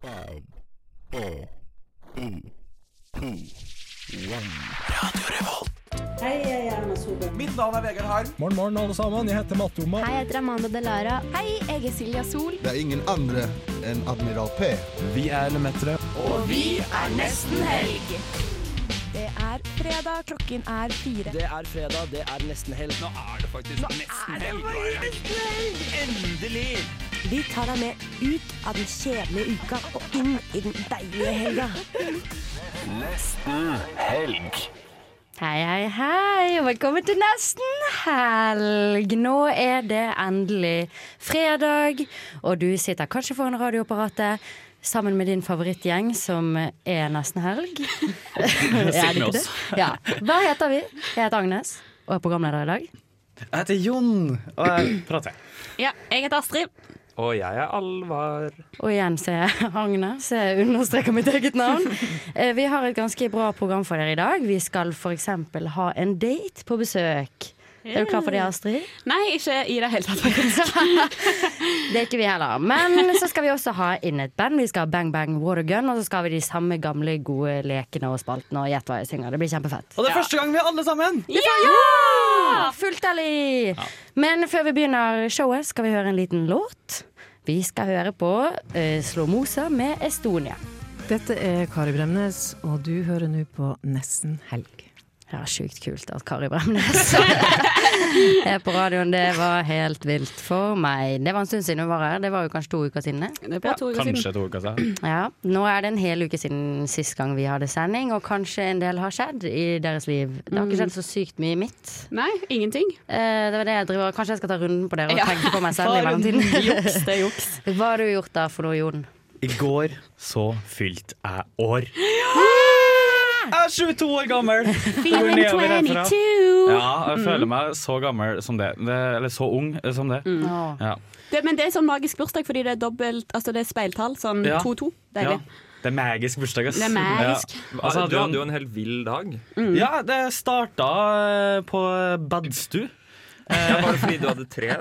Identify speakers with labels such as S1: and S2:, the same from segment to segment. S1: Five, four, three, two, one.
S2: Hei, jeg er Erna Solberg.
S3: Mitt navn er Vegard Harm.
S4: Morgen, morgen, alle sammen. Jeg heter Mattoma.
S5: Hei, jeg heter Amanda Delara. Hei, jeg er Silja Sol.
S6: Det er ingen andre enn Admiral P.
S4: Vi er Lemetere.
S5: Det er fredag, klokken er fire.
S3: Det er fredag, det er nesten helg. Nå er det faktisk nesten helg. Endelig!
S7: Vi tar deg med ut av den kjedelige uka og inn i den deilige helga.
S5: Hei, hei, hei, og velkommen til nesten helg. Nå er det endelig fredag, og du sitter kanskje foran radioapparatet sammen med din favorittgjeng, som er Nesten helg. Sikkert med oss. Ja. Hva heter vi? Jeg heter Agnes og er programleder i dag.
S8: Jeg heter Jon, og jeg prater.
S5: Ja, jeg heter Astrid.
S8: Og jeg er Alvar.
S5: Og igjen så er jeg Agnes, så jeg understreker mitt eget navn. Eh, Vi har et ganske bra program for dere i dag. Vi skal f.eks. ha en date på besøk. Er du klar for det, Astrid?
S9: Nei, ikke i det hele tatt, faktisk.
S5: Det er ikke vi heller. Men så skal vi også ha inn et band. Vi skal ha Bang Bang Watergun, og så skal vi de samme gamle gode lekene og spaltene og gjett hva jeg synger. Det blir kjempefett.
S8: Og det er første gang vi er alle sammen!
S5: Ja! Fullt ærlig! Men før vi begynner showet, skal vi høre en liten låt. Vi skal høre på eh, Slow Mosa med Estonia.
S10: Dette er Kari Bremnes, og du hører nå på Nesten helg.
S5: Ja, sjukt kult at Kari Bremnes er på radioen. Det var helt vilt for meg. Det var en stund siden hun var her. Det var jo kanskje to uker siden. det.
S9: Det er bare to uker siden.
S8: Kanskje to uker siden.
S5: Ja, Nå er det en hel uke siden sist gang vi hadde sending, og kanskje en del har skjedd i deres liv. Det har ikke skjedd så sykt mye i mitt.
S9: Nei, ingenting.
S5: Eh, det var det jeg driver Kanskje jeg skal ta runden på dere og
S9: Ja.
S5: tenke på meg selv i
S9: Bare Juks,
S5: mellomtiden.
S9: det er juks.
S5: Hva har du gjort da for noe, Jon?
S8: I går så fylte jeg år. Jeg er 22 år gammel! Det går nedover herfra. Ja, jeg føler meg så gammel som det. det eller så ung eh, som det.
S9: Mm.
S5: Åh.
S8: Ja.
S9: Det, men det er sånn magisk bursdag fordi det er dobbelt, altså det er speiltall. Sånn
S8: Ja.
S9: 2-2.
S8: ja.
S9: Deilig.
S8: Det er magisk bursdag, ass.
S9: Det er magisk.
S8: Ja. Altså,
S11: du hadde jo en helt vill dag.
S8: Ja, det starta eh, på Badstu.
S11: Ja, var det fordi du hadde tre?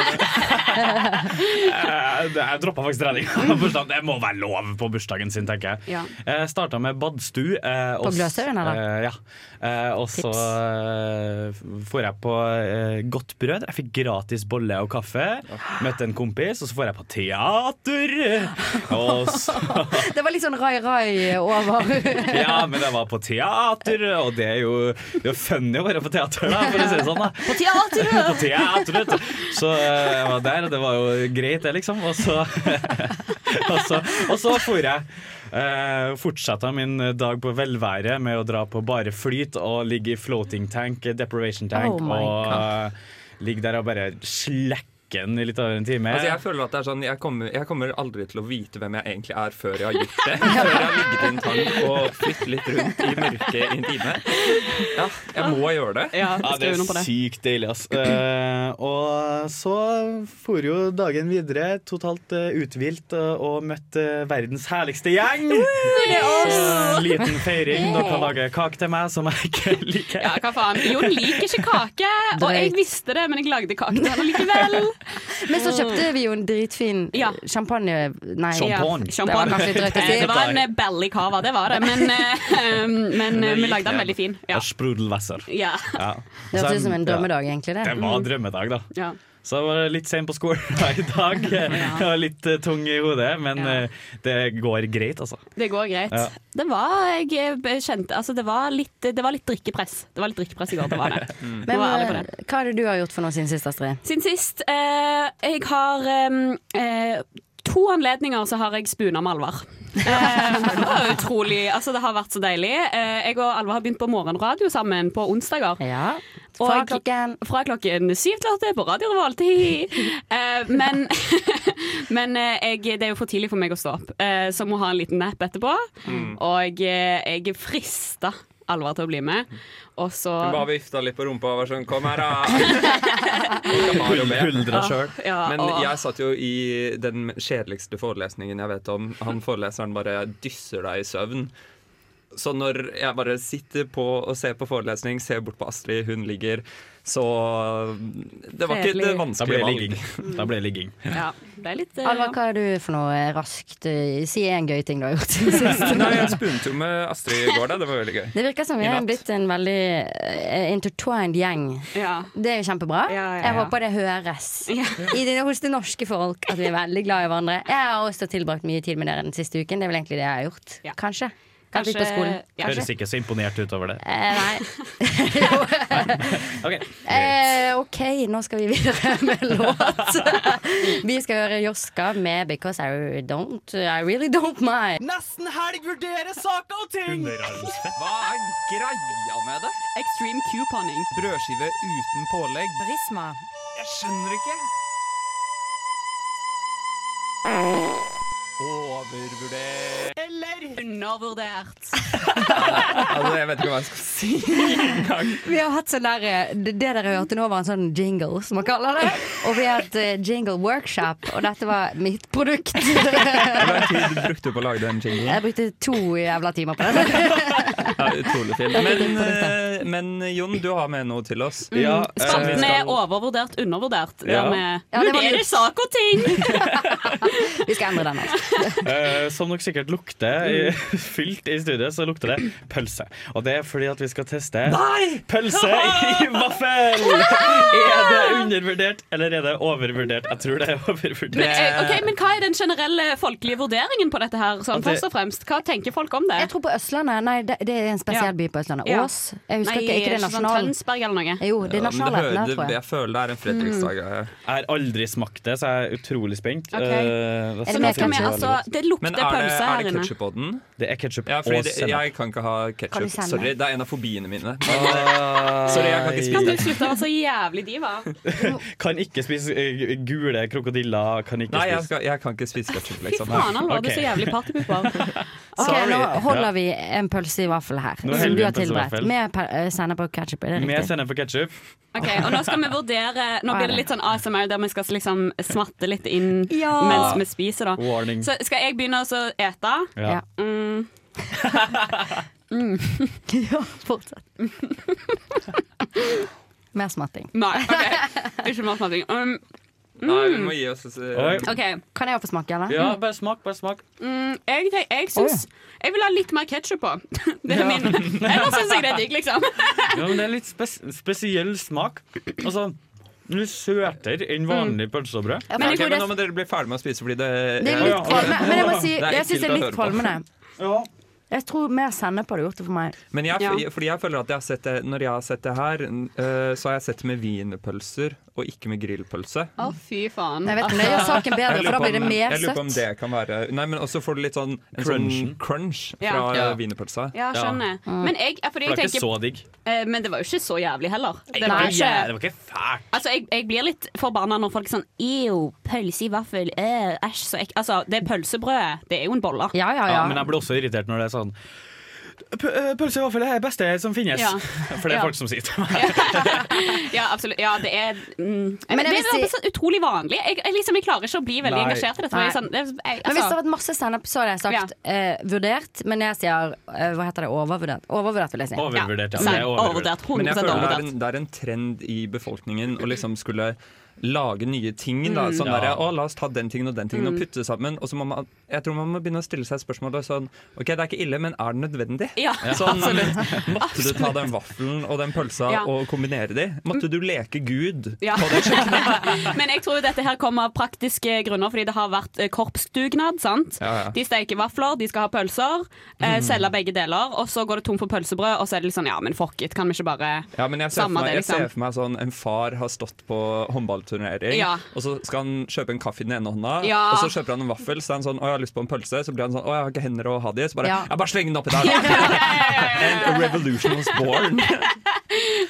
S8: Jeg, Eh, jeg droppa faktisk treninga. på bursdagen. Det må være lov på bursdagen sin, tenker jeg.
S9: Ja.
S8: Jeg starta med badstue. eh, og
S5: På
S8: s-
S5: Gløshaugen, eller?
S8: eh, ja. Eh, og så eh, får jeg på eh, godt brød. Jeg fikk gratis bolle og kaffe. Møtte en kompis, og så får jeg på teater. Og så,
S5: Det var litt sånn rai-rai over.
S8: ja, men jeg var på teater, og det er jo det er jo funny å være på teater, da, for å si det sånn. da
S9: På teateret!
S8: på teatret. Så eh, jeg var der, og det var jo greit, det, liksom. Og så, og så, og så for jeg. Uh, fortsatte min dag på velvære med å dra på bare flyt og ligge i floating tank, eh, deprivation tank,
S5: Oh my
S8: og eh, ligge der og bare slekke den i litt over en time.
S11: Altså, jeg føler at det er sånn, jeg kommer, jeg kommer aldri til å vite hvem jeg egentlig er før jeg har gjort det. Før jeg har ligget i en tank og flyttet litt rundt i mørket i en time. Ja, jeg må gjøre det.
S9: Ja,
S8: Ja, det
S9: skriv under på
S8: er
S9: det.
S8: sykt deilig, ass. Eh, og så for jo dagen videre totalt eh, uthvilt eh, og møtte eh, verdens herligste gjeng. En liten feiring. Dere lager kake til meg som jeg ikke liker.
S9: Ja, hva faen. Jon liker ikke kake, og jeg
S5: Drøyt.
S9: visste det, men jeg lagde kake til han likevel.
S5: Men så kjøpte vi jo en dritfin
S9: Ja.
S5: champagne Nei,
S8: Champagne.
S5: Det var kanskje litt drøyt å si.
S9: Eh, Det var en eh, belly cava, det var det. Men, eh, men eh, vi lagde den veldig fin. Ja.
S8: Og sprudelwasser.
S9: ja.
S8: Ja.
S5: Det
S8: Så
S5: hørtes
S8: jeg-
S5: ut som en drømmedag, egentlig.
S8: Ja,
S5: det
S8: det var drømmedag, da.
S9: ja.
S8: Så jeg var litt sen på skolen i dag. Jeg var litt eh, tung i hodet, men
S9: Ja.
S8: eh, det går greit, altså.
S9: Det går greit.
S8: Ja.
S9: Det var jeg kjente Altså, det var litt, det var litt drikkepress. Det var litt drikkepress i går, det var det. Jeg
S5: Men
S9: var ærlig på
S5: eh,
S9: det.
S5: hva er det du har gjort for noe siden sist, Astrid?
S9: Siden sist eh, Jeg har eh, eh, To anledninger så har jeg spuna med Alvar. Eh, det var utrolig Altså, det har vært så deilig. Eh, jeg og Alvar har begynt på morgenradio sammen på onsdager.
S5: Ja.
S9: Og
S5: Fra
S9: jeg-
S5: klokken
S9: Fra klokken syv til åtte på Radio Revolt. Hi. Eh, men men eh, jeg, det er jo for tidlig for meg å stå opp, eh, så må ha en liten nap etterpå.
S11: Mm.
S9: Og eh, jeg frista Alvar til å bli med, og så
S11: Hun bare vifta litt på rumpa og var sånn Kom her, da! Og da var jo med.
S8: Huldra sjøl.
S9: ja,
S11: Men
S9: og-
S11: jeg satt jo i den kjedeligste forelesningen jeg vet om. Han foreleseren bare dysser deg i søvn. Så når jeg bare sitter på og ser på forelesning, ser bort på Astrid, hun ligger, så Det var ikke det
S5: Kjedelig.
S8: Da ble
S11: vanskelige
S8: det
S11: valg.
S8: ligging. Da ble det ligging.
S9: Ja, det er litt eh,
S5: Alvar, hva er du for noe raskt? eh, Si én gøy ting du har gjort siden sist.
S11: Nei, jeg spunte jo med Astrid i går, da. Det var veldig gøy.
S5: Det virker som vi
S11: I
S5: er
S11: natt.
S5: blitt en veldig eh, intertwined gjeng.
S9: Ja.
S5: Det er jo kjempebra.
S9: Ja, ja,
S5: Jeg
S9: ja.
S5: håper det høres I det, hos det norske folk at vi er veldig glad i hverandre. Jeg har også tilbrakt mye tid med dere den siste uken. Det er vel egentlig det jeg har gjort. Kanskje. Kanskje,
S9: Kanskje-
S5: på skolen.
S9: ja.
S5: Kanskje.
S8: Høres ikke så imponert ut over det.
S5: Eh, nei.
S8: Ok.
S5: Eh, ok, nå skal vi videre med låt. vi skal høre Joska med 'Because I Don't I Really Don't Mind'.
S2: Nesten helg vurderer saker og ting!
S11: Hva er greia med det?
S9: Extreme couponing.
S11: Brødskive uten pålegg.
S10: Prisma.
S11: Jeg skjønner ikke. Overvurdert
S9: Eller undervurdert.
S11: Altså, jeg vet ikke hva jeg skal si engang.
S5: Vi har hatt sånn der, eh, det det dere hørte nå var en sånn jingle, som man kaller det. Og vi har hatt eh, jingle workshop, og dette var mitt produkt.
S11: Hvor
S5: Jeg
S11: lang tid brukte du på å lage den jinglen?
S5: brukte to jævla timer på det.
S11: Ja, utrolig fint.
S5: Det er
S11: Men,
S5: fint produkt,
S11: eh, men Jon, du har med noe til oss.
S9: Mm.
S11: Ja, eh,
S9: Spalten er overvurdert, undervurdert.
S11: Ja.
S9: Der vi
S5: Ja, det var
S9: vurderer
S5: lurt.
S9: saker og ting!
S5: Vi skal endre den. Altså.
S8: Eh, som dere sikkert lukter i- fylt i studiet, så lukter det pølse. Og det er fordi at vi skal teste pølse i vaffel! Er det undervurdert, eller er det overvurdert? Jeg tror det er overvurdert.
S9: Men, eh, ok, men Hva er den generelle folkelige vurderingen på dette? her? Sånn,
S8: At det-
S9: først og fremst, Hva tenker folk om det?
S5: Jeg tror på Østlandet. Nei, det, det er en spesiell
S9: Ja.
S5: by på Østlandet.
S9: Ja.
S5: Ås. Jeg husker
S9: Nei,
S5: ikke, ikke det
S9: sånn
S5: nasjonale.
S9: Tønsberg eller noe?
S5: Jo, det er
S11: Ja, men det
S5: nasjonalretten
S11: hører-
S5: her, tror
S11: det-
S5: jeg. Mm.
S11: Jeg føler det er en Fredriksdag. eh.
S8: Jeg har aldri smakt det, så jeg er utrolig spent.
S9: Ok.
S8: Eh, da
S5: Er det
S8: skal jeg
S5: mer
S8: finne ut
S5: ketchup?
S8: veldig
S9: Altså,
S8: godt.
S9: det lukter
S11: Men er det,
S9: pølse
S11: er
S9: her
S11: det
S9: inne.
S11: ketsjup på den?
S8: Det er ketsjup
S11: Ja,
S8: og
S11: fordi det,
S8: sennep.
S11: jeg kan ikke ha
S5: Kan du
S11: ketsjup.
S5: sende?
S11: Sorry, det er en av fobiene mine. Men, eh,
S8: Ah.
S11: sorry, jeg kan ikke
S9: Kan
S11: spise
S9: du
S11: det.
S9: slutte å være så jævlig diva?
S8: Kan ikke spise eh, gule krokodiller. Kan ikke
S11: Nei, jeg,
S8: spise
S11: skal, jeg kan ikke spise ketsjup,
S9: Fy
S11: liksom.
S9: faen, han var det
S8: Ok.
S9: så jævlig partypooper.
S5: Ok,
S8: Sorry.
S5: Nå holder vi en pølse i vaffel her,
S8: Nå
S5: som
S8: heller
S5: du
S8: vi
S5: har
S8: en pølse i
S5: tilberedt.
S8: vaffel.
S5: Med pe- eh, sennep og ketsjup, er det
S8: Med
S5: riktig?
S8: sennep og ketsjup.
S9: Ok, og Nå skal vi vurdere Nå blir det litt sånn ASMR der vi skal liksom smatte litt inn
S5: Ja.
S9: mens vi spiser. da
S8: Warning.
S9: Så Skal jeg begynne å så ete?
S8: Ja.
S5: Ja.
S9: Mm.
S5: ja, fortsett. Mer smatting.
S9: Nei, ok. Ikke mer smatting. Um,
S11: Nei,
S5: Mm.
S11: vi må gi oss eh,
S8: Oi.
S9: ok.
S5: Kan jeg også få smake, eller?
S8: ja, bare smak, bare smak.
S9: Mm, jeg, jeg, jeg syns Jeg vil ha litt mer ketsjup på. Det er min. Ellers syns jeg det er digg, liksom.
S8: Ja, men det er litt spes spesiell smak. Altså, litt søtere enn vanlig pølsebrød.
S5: Ja, for
S9: Men
S11: Ok,
S5: jeg tror
S11: men
S5: det,
S11: nå må dere bli ferdig med å spise, fordi det
S5: det er
S11: jeg-
S5: litt kvalme. Men jeg må si,
S11: Det er
S5: jeg syns
S11: ekkelt
S5: det er
S11: å
S5: litt
S11: høre på.
S5: kvalmende.
S8: Ja.
S5: Jeg tror mer sennep hadde gjort det for meg.
S11: Men jeg,
S9: Ja.
S11: fordi jeg føler at jeg har sett det, når jeg har sett det her, eh, så har jeg sett det med wienerpølser og ikke med grillpølse.
S9: Å, fy faen.
S5: Jeg vet ikke, men Det gjør saken bedre,
S11: Jeg
S5: for
S11: lurer
S5: da
S11: på
S5: blir det
S11: om-
S5: mer
S11: Jeg lurer på om
S5: søtt.
S11: det kan være Nei, men også får du litt sånn en sånn
S8: Crunchen.
S11: crunch fra
S9: Ja.
S11: ja. wienerpølsa.
S9: Ja, skjønner. Men, jeg, ja, fordi
S8: Det
S9: jeg
S8: er ikke
S9: tenker,
S8: så digg.
S9: eh, men det var jo ikke så jævlig heller. Det
S5: Nei.
S9: var
S8: Det
S9: ikke,
S8: var ikke fælt.
S9: altså, jeg, jeg blir litt forbanna når folk er sånn Ew, pølse i vaffel. eh, Æsj, så ek... Altså, det pølsebrødet, det er jo en bolle.
S5: Ja,
S8: Ja,
S5: ja, ja.
S8: men jeg blir også irritert når det er sånn «P- eh, Pølse i vaffel er det beste som finnes.
S9: Ja.
S8: For det
S9: Ja.
S8: er folk som sier til meg.
S9: Ja, absolutt. Ja, det er mm,
S5: Men jeg
S9: Det
S5: vil
S9: er bare
S5: si-
S9: så utrolig vanlig. Jeg, jeg, liksom, jeg klarer ikke å bli veldig
S11: Nei.
S9: engasjert i dette. for
S5: Nei.
S9: jeg er Sånn, det, er- jeg,
S5: Men hvis det
S9: altså,
S5: hadde vært masse sennep, så hadde jeg sagt eh, vurdert. Men jeg sier eh, hva heter det, overvurdert. Overvurdert, vil jeg si.
S8: Overvurdert, ja.
S9: Nei,
S8: Det er overvurdert.
S9: overvurdert.
S11: Men jeg
S9: 100
S11: føler det er,
S9: overvurdert.
S11: en, det er en trend i befolkningen å liksom skulle lage nye ting. Da. Sånn
S8: Ja.
S11: der, å, la oss ta den tingen og den tingen og putte det sammen. Og så må man, jeg tror man må begynne å stille seg spørsmålet sånn OK, det er ikke ille, men er det nødvendig?
S9: Ja,
S11: Sånn, måtte du ta den vaffelen og den pølsa
S9: Ja.
S11: og kombinere de? Måtte du leke Gud?
S9: Ja. Men jeg tror jo dette her kommer av praktiske grunner, fordi det har vært eh, korpsdugnad. sant?
S11: Ja, Mm. ja.
S9: De steker vafler, de skal ha pølser, eh, selge begge deler, og så går det tom for pølsebrød, og så er det litt sånn ja, men fuck it, kan vi ikke bare
S11: Ja, men jeg ser, for
S9: Samme
S11: meg,
S9: det,
S11: jeg ser
S9: liksom.
S11: for meg sånn En far har stått på håndballturnering,
S9: Ja.
S11: og så skal han kjøpe en kaffe i den ene hånda,
S9: Ja.
S11: og så kjøper han en vaffel, så er han sånn 'Å, jeg har lyst på en pølse', så blir han sånn 'Å, jeg har ikke hender å ha de', så bare
S5: Ja.
S11: «Ja, bare sleng den oppi der'. And a revolution was born.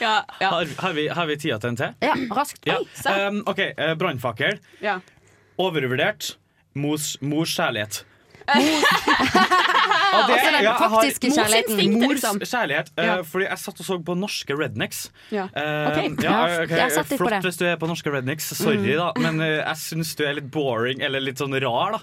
S9: Ja, ja,
S8: Har, har, vi, har vi tida til en til?
S5: Ja, raskt.
S8: Ja.
S5: Oi.
S8: Um, OK, eh, brannfakkel.
S9: ja.
S8: Overvurdert. Mors, mors kjærlighet. Og det-
S5: Altså den
S8: ja, jeg har-
S5: faktiske Mors kjærligheten. instinkt,
S8: Mors
S5: liksom.
S8: kjærlighet. eh,
S5: Ja.
S8: Fordi jeg satt og så på norske rednecks.
S5: Ja.
S8: Eh,
S5: Ok.
S8: ja, ok,
S5: Jeg satt litt på
S8: Flott
S5: det.
S8: hvis du er på norske rednecks, sorry
S5: Mm.
S8: da, men eh, jeg syns du er litt boring, eller litt sånn rar, da.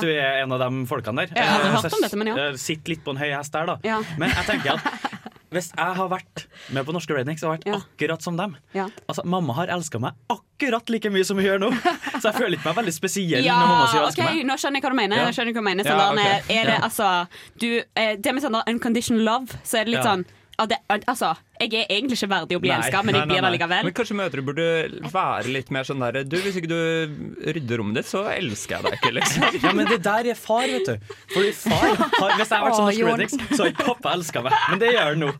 S9: Ja.
S8: du er en av de folkene der.
S9: Jeg har aldri
S8: Eh,
S9: hørt
S8: så
S9: om dette, men ja.
S8: eh, Sitt litt på en høy hest der, da.
S9: Ja.
S8: Men jeg tenker at hvis jeg har vært med på norske rednecks og vært akkurat som dem
S9: Ja.
S8: Altså, Mamma har elska meg akkurat like mye som hun gjør nå, så jeg føler ikke meg veldig spesiell
S9: Ja,
S8: når mamma sier hun
S9: ok,
S8: elsker meg.
S9: nå skjønner jeg hva du mener.
S8: Ja.
S9: Nå skjønner jeg hva du mener
S8: Ja,
S9: Sandalen,
S8: ok.
S9: er, er det,
S8: Ja.
S9: altså, du, eh, det med sånn unconditional love, så er det litt
S11: Ja.
S9: sånn ja, det, altså, Jeg er egentlig ikke verdig å bli
S11: Nei,
S9: elska, men
S11: nei,
S9: jeg
S11: nei,
S9: blir det
S11: nei.
S9: likevel.
S11: Men kanskje mødre burde være litt mer sånn derre Du, hvis ikke du rydder rommet ditt, så elsker jeg deg ikke, liksom.
S8: Ja, men det der er far, vet du. Fordi far har, Hvis jeg har vært
S11: Å,
S8: sånn norsk
S11: Jordan.
S8: Rednecks, så har ikke pappa elska meg. Men det gjør han nå.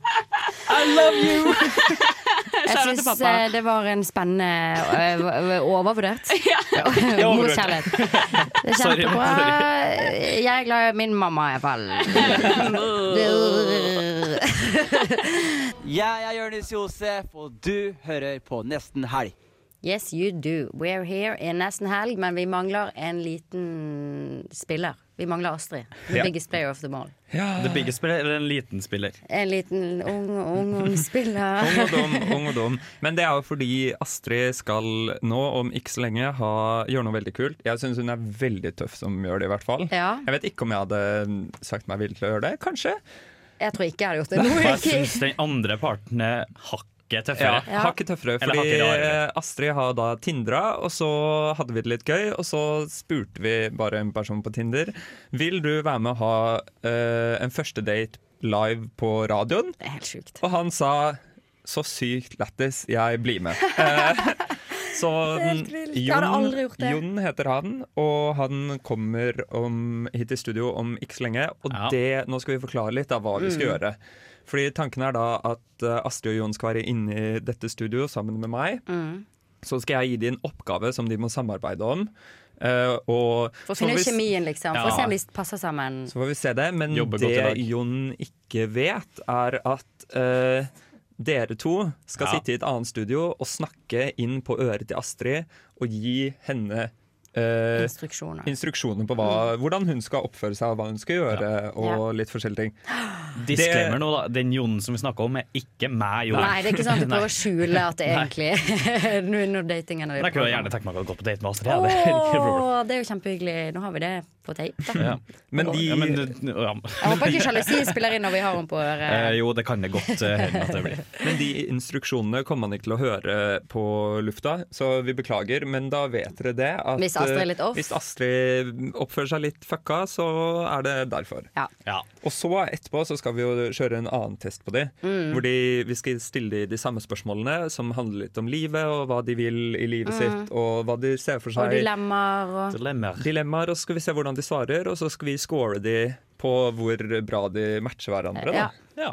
S5: I love you! Jeg
S9: Kjære til
S5: syns
S9: pappa.
S5: det var en spennende eh, v- v- overvurdert.
S9: Ja,
S5: Mors
S9: overvurdert.
S5: kjærlighet. Det er
S9: Sorry,
S5: kjempebra.
S9: sorry.
S5: Jeg er glad i min mamma, i hvert fall.
S2: Jeg er Jonis Josef, og du hører på Nesten Helg.
S5: Yes, you do. We're here i nesten helg, men vi mangler en liten spiller. Vi mangler Astrid. The
S8: Ja.
S5: biggest player of them all.
S8: The biggest spiller eller en liten spiller?
S5: En liten ung, ung, ung spiller.
S11: Ung og dum, ung og dum. Men det er jo fordi Astrid skal nå, om ikke så lenge, ha, gjøre noe veldig kult. Jeg syns hun er veldig tøff som gjør det, i hvert fall.
S5: Ja.
S11: Jeg vet ikke om jeg hadde sagt meg villig til å gjøre det. Kanskje.
S5: Jeg tror ikke jeg hadde gjort det.
S8: Og
S5: Nå,
S8: jeg syns den andre parten er hakket tøffere.
S11: Ja, hakket tøffere,
S8: Eller
S11: fordi
S8: hakket rarere.
S11: eh, Astrid har da Tindra, og så hadde vi det litt gøy, og så spurte vi bare en person på Tinder Vil du være med å ha eh, en første date live på radioen.
S5: Det er helt sjukt.
S11: Og han sa så sykt lættis, jeg blir med. Eh, Så
S5: Det er helt vilt. Jeg hadde
S11: Jon,
S5: aldri gjort det.
S11: Jon heter han, og han kommer om, hit i studio om ikke så lenge. Og det, nå skal vi forklare litt av hva vi skal
S8: Mm.
S11: gjøre. Fordi tanken er da at eh, Astrid og Jon skal være inne i dette studio sammen med meg.
S5: Mm.
S11: Så skal jeg gi dem en oppgave som de må samarbeide om. eh, og
S5: For å
S11: så
S5: finne
S11: hvis-
S5: kjemien, liksom. For å
S11: Ja.
S5: se om de passer sammen.
S11: så får vi se det. Men
S8: Jobbe godt i
S11: det
S8: lag.
S11: Jon ikke vet, er at eh, dere to skal
S8: Ja.
S11: sitte i et annet studio og snakke inn på øret til Astrid og gi henne eh,
S5: Instruksjoner.
S11: instruksjoner på hva, hvordan hun skal oppføre seg og hva hun skal gjøre. Og
S5: Mm. Ja.
S11: litt forskjellige ting.
S8: Disclaimer nå, da. Den Jonen som vi snakker om, er ikke meg, Jon.
S5: Nei, det er ikke sånn at du
S8: Nei.
S5: prøver å skjule at det
S8: Nei.
S5: egentlig Nå er noe datingen
S8: Men jeg kunne gjerne tenkt meg å gå på date med Astrid.
S5: Åh,
S8: Ja, det er ikke noe problem.
S5: det er jo kjempehyggelig. Nå har vi det på tape.
S8: Ja.
S11: Men de-
S8: ja, men, du- ja.
S5: Jeg håper ikke sjalusi spiller inn når vi har henne på
S8: Eh,
S5: øret.
S8: jo, det kan det godt eh, hende at det blir.
S11: Men de instruksjonene kommer man ikke til å høre på lufta, så vi beklager. Men da vet dere det. At,
S5: Hvis Astrid er litt off.
S11: eh, Hvis Astrid oppfører seg litt fucka, så er det derfor.
S5: Ja.
S11: Og så etterpå så skal vi jo kjøre en annen test på dem.
S5: Mm.
S11: Hvor de, vi skal stille de de samme spørsmålene som handler litt om livet, og hva de vil i livet
S5: Mm.
S11: sitt, og hva de ser for
S5: Og
S11: seg.
S5: dilemmaer og
S8: Dilemmaer.
S11: Dilemmaer, og så skal vi se hvordan de svarer, og så skal vi score de på hvor bra de matcher hverandre. Da.
S5: Ja.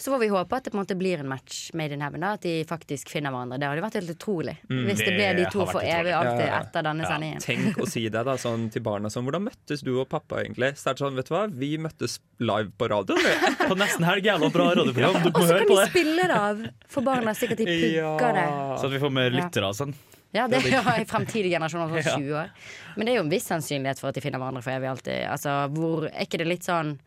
S5: Så får vi håpe at det på en måte blir en match made in heaven. Da, at de faktisk finner hverandre. Det hadde vært helt utrolig
S11: Mm.
S5: hvis det ble de to for evig og alltid
S11: Ja, ja.
S5: etter denne
S11: Ja,
S5: sendingen.
S11: Tenk å si det da, sånn til barna sånn Hvordan møttes du og pappa egentlig? Så er det sånn, vet du hva, vi møttes live på radioen. vi.»
S8: På nesten helg, jævla bra radioprogram. Du
S5: Og
S8: må
S5: så
S8: høre
S5: kan
S8: på
S5: de
S8: det.
S5: spille det av for barna, slik at de pugger det.
S8: Så at vi får med
S5: Ja.
S8: lyttere og sånn.
S5: Ja, det
S8: Det er
S5: ja,
S8: digg.
S5: i fremtidige generasjoner
S8: Ja.
S5: sånn 20 år. Men det er jo en viss sannsynlighet for at de finner hverandre for evig alltid. Altså, hvor, er ikke det litt sånn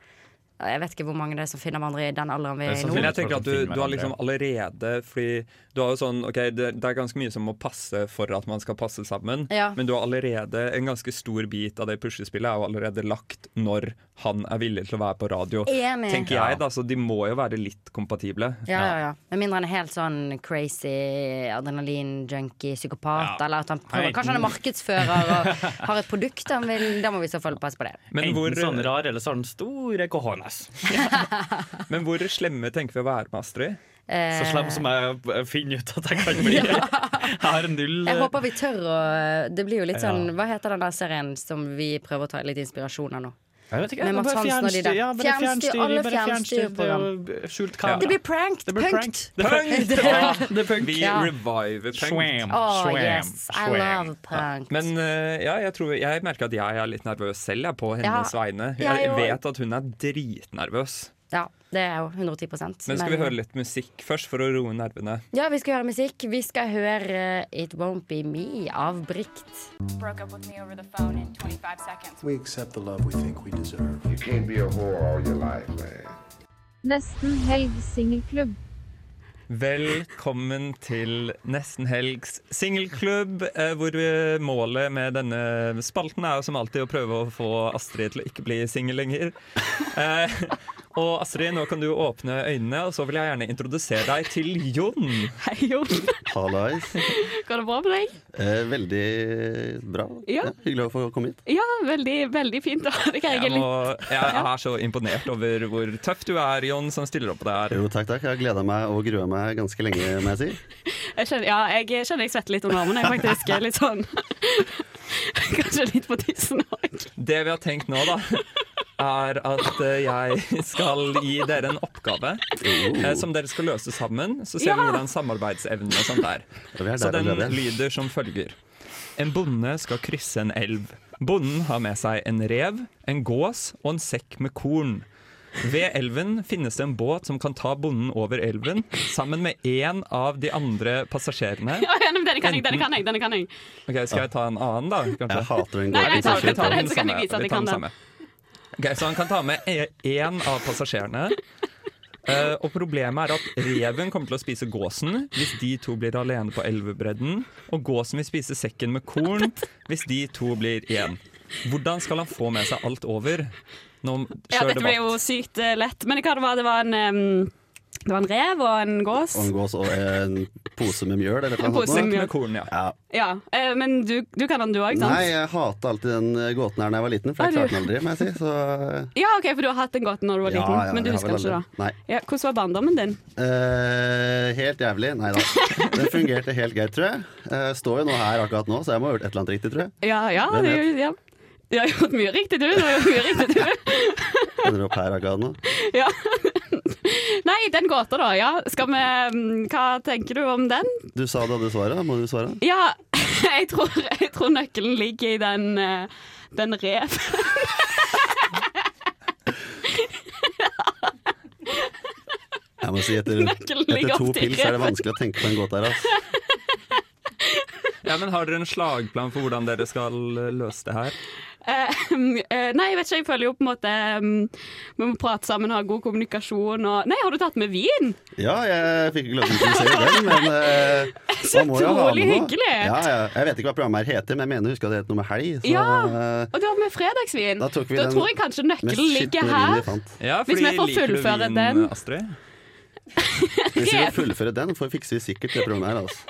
S5: Jeg vet ikke hvor mange det er som finner hverandre i den alderen vi er i nå.
S11: Men jeg tenker at du, du har liksom allerede Fordi du har jo sånn Ok, det, det er ganske mye som må passe for at man skal passe sammen,
S5: Ja.
S11: men du har allerede en ganske stor bit av det puslespillet er jo allerede lagt når han er villig til å være på radio.
S5: Enig.
S11: Tenker jeg da, Så de må jo være litt kompatible.
S5: Ja, ja, ja. Med mindre han er helt sånn crazy adrenalin-junkie psykopat.
S11: Ja.
S5: Eller at han
S11: Nei,
S5: prøver. Kanskje han er markedsfører og har et produkt han vil Da må vi i så fall passe på det.
S11: Men
S8: Enten
S11: hvor-
S8: sånn rar, eller sånn store cojones.
S11: Men hvor slemme tenker vi å være med Astrid?
S5: Eh,
S8: Så slem som jeg finner ut at jeg kan bli. Jeg har null eh,
S5: Jeg håper vi tør å Det blir jo litt
S8: Ja.
S5: sånn Hva heter den der serien som vi prøver å ta litt inspirasjon av nå?
S8: Jeg vet ikke, det
S5: Med
S8: er
S5: Mads
S8: bare
S5: Hansen og de der.
S8: fjernstyr, ja, bare fjernstyr,
S5: alle
S8: bare fjernstyr, det er
S5: fjernstyrprogram.
S8: jo skjult kamera.
S5: Det blir prankt!
S8: Det blir
S5: punkt!
S8: prankt. Det er prankt.
S5: Det er prankt.
S11: Ja, det er punk. Vi
S5: Ja.
S11: reviver punk.
S8: Swam,
S5: Oh, swam, yes, I swam. love punk.
S11: Ja. Men eh, ja, jeg, tror, jeg merker at jeg er litt nervøs selv jeg, på hennes
S5: Ja,
S11: vegne.
S5: jeg
S11: Jeg
S5: òg.
S11: vet at hun er dritnervøs.
S5: Ja, det er jo 110 Men
S11: Men skal vi høre litt musikk først, for å roe nervene?
S5: Ja, vi skal høre musikk. Vi skal høre eh, It Won't Be Me av Brikt.
S12: Broke up with me over the phone in 25 seconds.
S13: We accept the love we think we deserve. You can't be a whore all your life, man.
S14: Nesten helg singelklubb.
S11: Velkommen til Nesten helgs singelklubb, eh, hvor eh, målet med denne spalten er jo som alltid å prøve å få Astrid til å ikke bli singel lenger. Eh, og Astrid, nå kan du åpne øynene, og så vil jeg gjerne introdusere deg til Jon.
S9: Hei, Jon.
S15: Hallais.
S9: Går det bra med deg?
S15: Eh, veldig bra.
S9: Ja.
S15: hyggelig å få komme hit.
S9: Ja, veldig, veldig fint. å ha deg her. Jeg
S11: Jeg,
S9: er
S11: må,
S9: litt
S11: jeg er så imponert over hvor tøff du er, Jon, som stiller opp der.
S15: Jo, takk, takk. Jeg har gleda meg og grua meg ganske lenge, må jeg si.
S9: Jeg kjenner, ja, jeg kjenner jeg svetter litt under armene, jeg faktisk. Jeg er litt sånn Kanskje litt på tissen òg.
S11: Det vi har tenkt nå, da, er at eh, jeg skal gi dere en oppgave
S15: Oh.
S11: eh, som dere skal løse sammen. Så ser vi
S9: Ja.
S11: hvordan samarbeidsevnen og sånt er.
S15: vi er
S11: Så
S15: der
S11: den
S15: allerede.
S11: lyder som følger. En bonde skal krysse en elv. Bonden har med seg en rev, en gås og en sekk med korn. Ved elven finnes det en båt som kan ta bonden over elven sammen med én av de andre passasjerene.
S9: Ja, ja, men denne kan jeg, denne kan jeg. denne kan jeg.
S11: Ok, Skal jeg ta en annen, da? Kanskje?
S15: Jeg hater den
S9: Nei, nei, ta-
S11: Vi tar
S9: ta den,
S11: den
S9: så kan jeg
S11: samme.
S9: vise at
S11: Vi
S9: jeg
S11: tar
S9: kan
S11: den
S9: den.
S11: samme. Ok, så han kan ta med én av passasjerene. Eh, og problemet er at reven kommer til å spise gåsen hvis de to blir alene på elvebredden. Og gåsen vil spise sekken med korn hvis de to blir igjen. Hvordan skal han få med seg alt over? Nå
S9: Ja,
S11: kjør
S9: dette ble
S11: debatt.
S9: jo sykt eh, lett. Men hva det var det? var en... em, det var en rev og en gås.
S15: Og en gås og en pose med mjøl, eller
S9: En
S15: noe
S9: pose
S15: sånt.
S9: med mjøl. Med
S11: korn, ja.
S9: Ja, eh, Men du, du kan den du òg, sant?
S15: Nei, jeg hata alltid den eh, gåten her da jeg var liten, for jeg
S9: Har
S15: klarte
S9: du-
S15: den aldri, må jeg si. Så
S9: Ja, OK, for du har hatt den godt når du var
S15: Ja,
S9: liten.
S15: ja,
S9: men du
S15: jeg
S9: husker
S15: har vel
S9: den ikke,
S15: aldri-
S9: da.
S15: Nei.
S9: Ja, hvordan var barndommen din?
S15: Eh, helt jævlig. Nei da. Det fungerte helt greit, tror jeg. Eh, står jo nå her akkurat nå, så jeg må ha gjort et eller annet riktig, tror jeg.
S9: Ja, ja,
S15: Hvem
S9: du,
S15: vet?
S9: ja. Du har gjort mye riktig, du. du har gjort mye riktig, du.
S15: Ender opp her akkurat nå.
S9: Ja. Nei, den gåta, da. Ja. Skal vi mm, Hva tenker du om den?
S15: Du sa du hadde svaret, da må du svare.
S9: Ja, jeg tror, jeg tror nøkkelen ligger i den, eh, den rev.
S15: Jeg må si etter,
S9: Nøkkelen ligger
S15: etter to
S9: opp til
S15: pils er det
S9: reven.
S15: vanskelig å tenke på en gåte her. ass.
S11: Ja, men Har dere en slagplan for hvordan dere skal eh, løse det her?
S9: Eh, eh, nei, jeg vet ikke. Jeg føler jo på en måte mm, Vi må prate sammen, ha god kommunikasjon og Nei, har du tatt med vin?
S15: Ja, jeg fikk ikke lov til å introdusere den, men eh, man må jo ha
S9: utrolig
S15: med noe.
S9: hyggelig.
S15: Ja, ja. Jeg vet ikke hva programmet her heter, men jeg mener jeg husker at det het noe med helg. Så,
S9: Ja.
S15: eh,
S9: Og du har med fredagsvin.
S15: Da tok vi den
S9: tror jeg kanskje
S15: mest
S9: nøkkelen ligger
S15: skitne vinen vi
S9: her.
S15: fant.
S9: Hvis vi får fullføre den.
S11: Astrid?
S15: Hvis vi får fullføre den, får fikse vi sikkert det programmet her. Altså.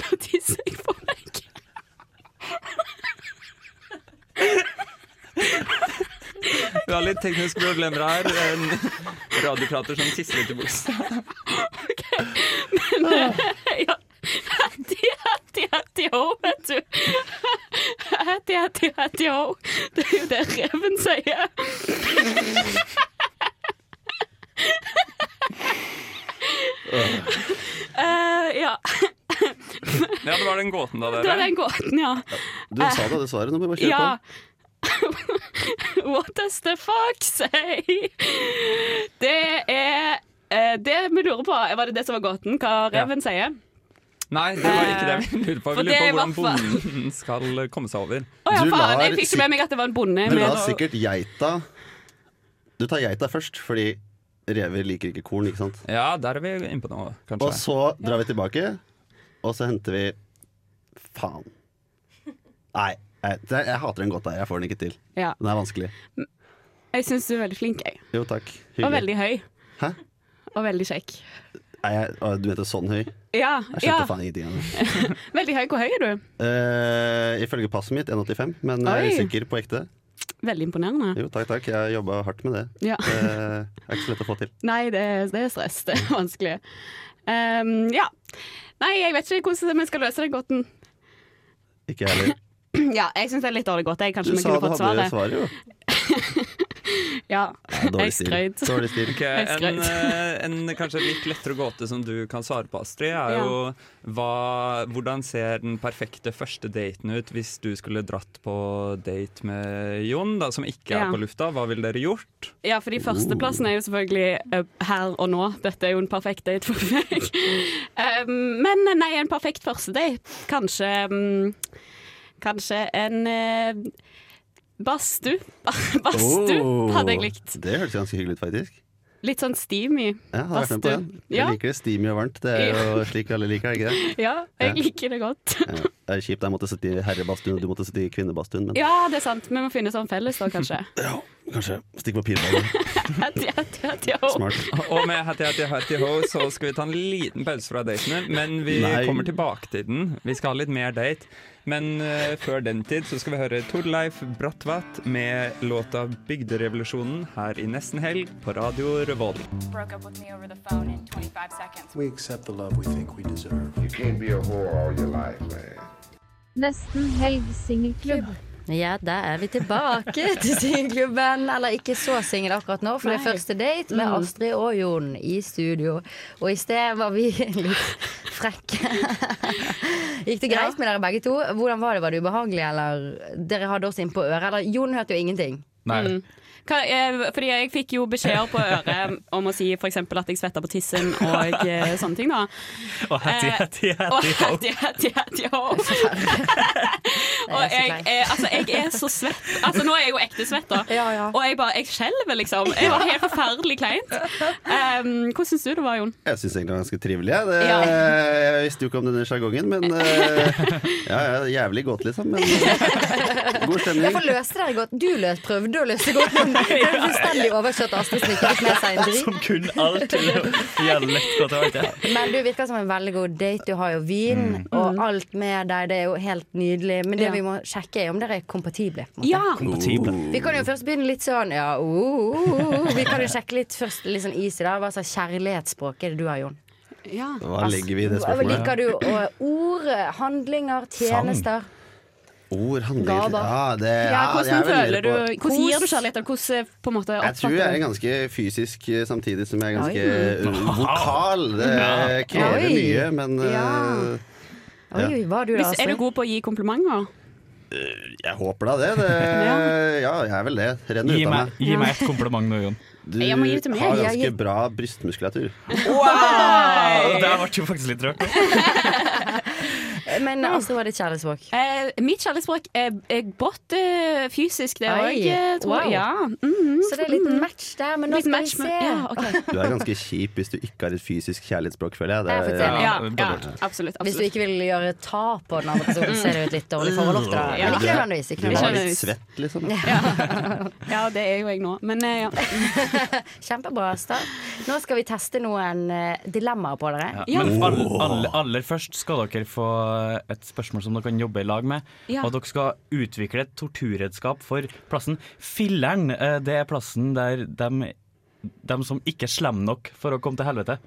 S9: Da tisser jeg på meg.
S11: Vi har litt tekniske problemer her. En radioprater som tisser litt i buksa.
S9: Men eh, ja. Hatty, hatty, hatty ho, vet du. Hatty, hatty, hatty ho. Det er jo det reven sier. Eh, ja.
S11: Ja, det var den gåten, da,
S9: Det var
S11: dere.
S9: den gåten, ja.
S15: Du sa det, det svaret. Nå må vi bare kjøre
S9: Ja. What does the fuck say? Det er eh, det vi lurer på. Var det det som var gåten? Hva
S11: Ja.
S9: reven sier?
S11: Nei, det var ikke det vi lurte på.
S9: Eh, For
S11: Vi lurer
S9: det
S11: på hvordan
S9: var fa-
S11: bonden skal komme seg over.
S9: Å ja,
S15: Du
S9: faen.
S15: lar
S9: Jeg fikk ikke med meg at det var en bonde.
S15: på. Du
S9: med-
S15: lar sikkert geita Du tar geita først, fordi rever liker ikke korn, ikke sant?
S11: Ja, der er vi inne på noe, kanskje.
S15: Og så drar vi tilbake, og så henter vi Faen. Nei, jeg, jeg hater den godt der. Jeg får den ikke til.
S9: Ja.
S15: Den er vanskelig.
S9: Jeg syns du er veldig flink, jeg.
S15: Jo, takk.
S9: Og
S15: Hyggelig.
S9: veldig høy.
S15: Hæ?
S9: Og veldig kjekk.
S15: Nei, jeg, å, du heter sånn høy? Jeg
S9: Ja, ja.
S15: skjønte faen ingenting av det.
S9: Veldig høy. Hvor høy er du?
S15: Eh, ifølge passet mitt 1,85, men jeg er
S9: Oi.
S15: usikker på ekte.
S9: Veldig imponerende.
S15: Jo, takk, takk. Jeg har jobba hardt med det.
S9: Ja.
S15: Eh, det er ikke så lett å få til.
S9: Nei, det, er- det er stress. Det er vanskelig. Ehm, ja. Nei, jeg vet ikke hvordan vi skal løse den gåten.
S15: Ikke jeg heller.
S9: Ja, jeg syns det er litt dårlig gåte. Jeg
S15: Du
S9: kanskje vi
S15: sa
S9: kunne
S15: du
S9: fått
S15: hadde
S9: svaret.
S15: svaret, jo.
S9: Ja,
S15: dårlig
S9: jeg
S15: stil.
S9: skrøt.
S15: Dårlig stil.
S11: Ok,
S9: Jeg
S11: en,
S9: skrøt.
S11: eh, en kanskje litt lettere gåte som du kan svare på, Astrid, er
S9: Ja.
S11: jo hva, hvordan ser den perfekte første daten ut hvis du skulle dratt på date med Jon, da, som ikke
S9: Ja.
S11: er på lufta? Hva ville dere gjort?
S9: Ja, fordi førsteplassen er jo selvfølgelig eh, her og nå. Dette er jo en perfekt date for meg. Um, men nei, en perfekt første date. Kanskje um, Kanskje en eh, badstue. Badstue
S15: Oh,
S9: hadde jeg likt.
S15: Det hørtes ganske hyggelig ut, faktisk.
S9: Litt sånn steamy.
S15: Ja, hadde vært med på den. Jeg
S9: Ja.
S15: liker det steamy og varmt. Det er jo slik alle liker, er det ikke det?
S9: Ja, jeg
S15: Ja.
S9: liker det godt.
S15: Ja. Det er kjipt, jeg måtte sitte i herrebadstuen, og du måtte sitte i kvinnebadstuen, men
S9: Ja, det er sant. Vi må finne sånn felles da, kanskje.
S15: kanskje stikk på pipa. Smart.
S11: Og med Hatty Hatty Hatty Ho så skal vi ta en liten pause fra datene, men vi
S15: Nei.
S11: kommer tilbake til den. Vi skal ha litt mer date. Men eh, før den tid så skal vi høre Torleif Brattvat med låta 'Bygderevolusjonen' her i nesten helg på Radio Revolt.
S12: Broke up with me over the phone in 25 seconds.
S13: We accept the love we think we deserve. You can't be a whore all your life, man.
S14: Nesten helg singelklubb.
S5: Ja, da er vi tilbake til singelklubben. Eller ikke så singel akkurat nå, for det er
S14: Nei.
S5: første date med
S14: Mm.
S5: Astrid og Jon i studio. Og i sted var vi litt frekke. Gikk det greit med dere begge to? Hvordan var det? Var det ubehagelig, eller Dere hadde oss innpå øret, eller Jon hørte jo ingenting.
S9: Mm. Hva, eh, fordi jeg fikk jo beskjeder på øret om å si f.eks. at jeg svetta på tissen og eh, sånne ting. da
S11: Og Hatty
S9: Eh,
S11: Hatty
S9: Og
S11: Hatty Ho.
S9: hatty, hatty, hatty ho. Og jeg, er- altså, jeg er så svett. Altså, nå er jeg jo ekte svett, da. Og jeg bare, jeg skjelver, liksom. Jeg var helt forferdelig kleint. Um, hvordan syns du det var, Jon?
S15: Jeg syns egentlig det var ganske trivelig. Jeg, det,
S9: Ja.
S15: jeg visste jo ikke om denne sjargongen, men eh, ja, ja, Jævlig godt, liksom. Men god stemning.
S5: Derfor løste dere godt. Du løs, prøvde å løse godt, men det er fullstendig overkjørt av Astrid som ikke fikk med seg en dritt.
S16: Som kun alt dialekt på tilbake.
S5: Men du virker som en veldig god date. Du har jo vin
S14: Mm.
S5: og alt med deg. Det er jo helt nydelig. Men det
S9: Ja.
S5: vi må sjekke, er om dere er kompatible. På en måte.
S9: Ja.
S16: Kompatible.
S5: Vi kan jo først begynne litt sånn ja, oh, oh, oh, oh. Vi kan jo sjekke litt først litt sånn is i det. Hva slags kjærlighetsspråk er det du har, Jon?
S15: Hva legger vi i det
S5: Hva
S15: spørsmålet?
S5: Liker du og ord, handlinger, tjenester?
S15: Ord, handlinger
S5: Gaver.
S15: ja, det,
S9: Ja,
S15: ja, det er
S9: hvordan
S15: jeg veldig
S9: føler du
S15: på.
S9: Hvordan gir du kjærlighet? eller Hvordan eh, på en måte
S15: Jeg tror
S9: oppfatter
S15: jeg er
S9: du
S15: ganske fysisk eh, samtidig som jeg er ganske
S9: Oi.
S15: eh, vokal. Det krever
S9: Oi.
S15: mye, men eh,
S9: Ja.
S15: ja.
S5: Oi, hva er du da,
S9: Hvis, er du
S5: Astrid?
S9: god på å gi komplimenter?
S15: Jeg håper da det. det ja, jeg er vel det. Renner
S16: Gi
S15: ut av
S16: meg,
S15: meg.
S16: gi meg et kompliment nå, Jon.
S15: Du
S9: Jeg må gi det til meg.
S15: har
S9: Jeg
S15: ganske
S9: gir-
S15: bra brystmuskulatur.
S16: Og der ble jeg faktisk litt rørt.
S9: Mm.
S5: Men altså, Astrid, hva er ditt kjærlighetsspråk?
S9: Eh, mitt kjærlighetsspråk er, er godt eh, fysisk, det
S5: Oi,
S9: òg, tror
S5: wow.
S9: jeg. Ja. mhm. Mm-hmm.
S5: Så det er litt match der, men nå
S9: Litt
S5: skal vi
S9: match, men-
S5: se.
S9: ja, ok.
S15: Du er ganske kjip hvis du ikke har et fysisk kjærlighetsspråk, føler jeg. Det
S5: Jeg er faktisk enig. Ja,
S15: dobbelt.
S9: absolutt,
S5: Hvis du ikke vil gjøre tap på den andre
S9: Mm.
S5: personen, så er det jo et litt dårlig forhold ofte. Da. Men ikke nødvendigvis. Ikke
S15: Du var litt
S5: nødvendigvis.
S15: svett, liksom.
S9: Ja, det er jo jeg nå, men eh, ja.
S5: Kjempebra start. Nå skal vi teste noen eh, dilemmaer på dere.
S16: Ja. Men all, aller, aller først skal dere få et spørsmål som dere kan jobbe i lag med.
S5: Ja.
S16: Og dere skal utvikle et torturredskap for plassen. Filleren, eh, det er plassen der dem, dem som ikke er slem nok for å komme til helvete.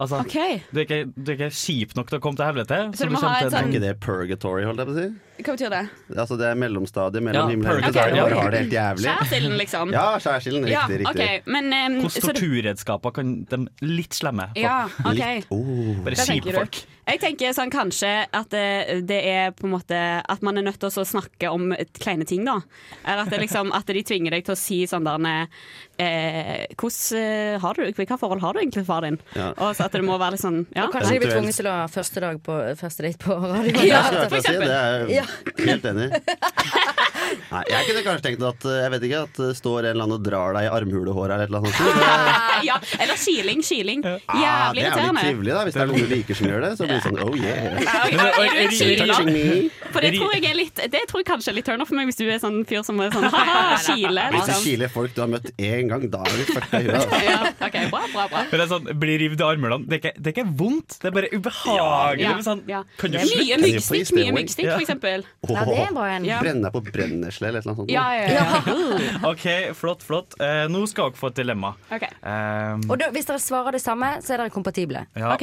S16: Altså,
S9: Ok.
S16: du, er ikke, du er ikke kjip nok til å komme til helvete.
S9: Så du må
S16: kommer
S9: ha
S16: til
S9: et sånn-
S16: en-
S15: Er ikke det purgatory, holdt jeg på å si?
S9: Hva betyr det?
S15: Altså Det er mellomstadiet mellom
S16: Ja,
S15: himmel og helvete.
S16: purgatory.
S15: der du
S16: Ok.
S15: Bare har det helt jævlig.
S9: Skjærsilden, liksom.
S15: Ja, skjærsilden.
S9: Ja,
S15: Riktig, riktig.
S9: ok, men, eh,
S16: Hvilke
S9: så du-
S16: torturredskaper kan de litt slemme få?
S9: Ja, ok. Litt-
S16: Bare
S9: Hva tenker
S16: kjipe
S9: du?
S16: folk.
S9: Jeg tenker sånn kanskje at eh, det er på en måte At man er nødt til å snakke om et kleine ting, da. Eller at, det liksom, at de tvinger deg til å si sånn der eh, Hvordan eh, har du Hvilke forhold har du egentlig til far din?
S15: Ja.
S9: Og så at det må være litt sånn ja.
S5: Og kanskje de blir tvunget til å ha første, dag på, første date på radio.
S15: Ja, det skulle jeg til å si. Det er
S5: Ja.
S15: jeg helt enig i. Nei, Jeg kunne kanskje tenkt at eh, Jeg vet ikke at det står en eller annen og drar deg i armhulehåret eller et eller annet. sånt.
S9: ja, eller kiling, kiling.
S15: Ah,
S9: Jævlig
S15: det er jo litt
S9: irriterende.
S15: trivelig, da. Hvis det er noen du liker som gjør det, så blir det sånn oh yeah.
S9: Ja, ja, er du en
S15: Touching
S9: kiler?
S15: me.
S9: For det tror jeg er litt Det tror jeg kanskje er litt turn off for meg, hvis du er sånn fyr som er sånn haha, kile.
S15: Hvis det
S9: Liksom.
S15: kiler folk du har møtt én gang, da er du fucka i huet. altså.
S9: OK, bra, bra, bra.
S16: Men det er sånn, Blir revet i armene. Det, er ikke- det er ikke vondt, det er bare ubehagelig.
S9: Ja,
S16: men sånn,
S9: ja.
S16: Kan du
S9: Mye
S16: slutte?
S9: myggstikk, mye myggstikk,
S16: Ja.
S9: for eksempel.
S5: Ja, det er en bra en.
S9: Ja.
S15: Brenne deg på brennesle eller et eller annet sånt.
S9: Ja, ja, ja.
S16: OK, flott, flott. Eh, nå skal dere få et dilemma.
S5: Ok.
S16: Um,
S8: Ehm,
S5: Og da, hvis dere svarer det samme, så er dere kompatible.
S16: Ja. Ok.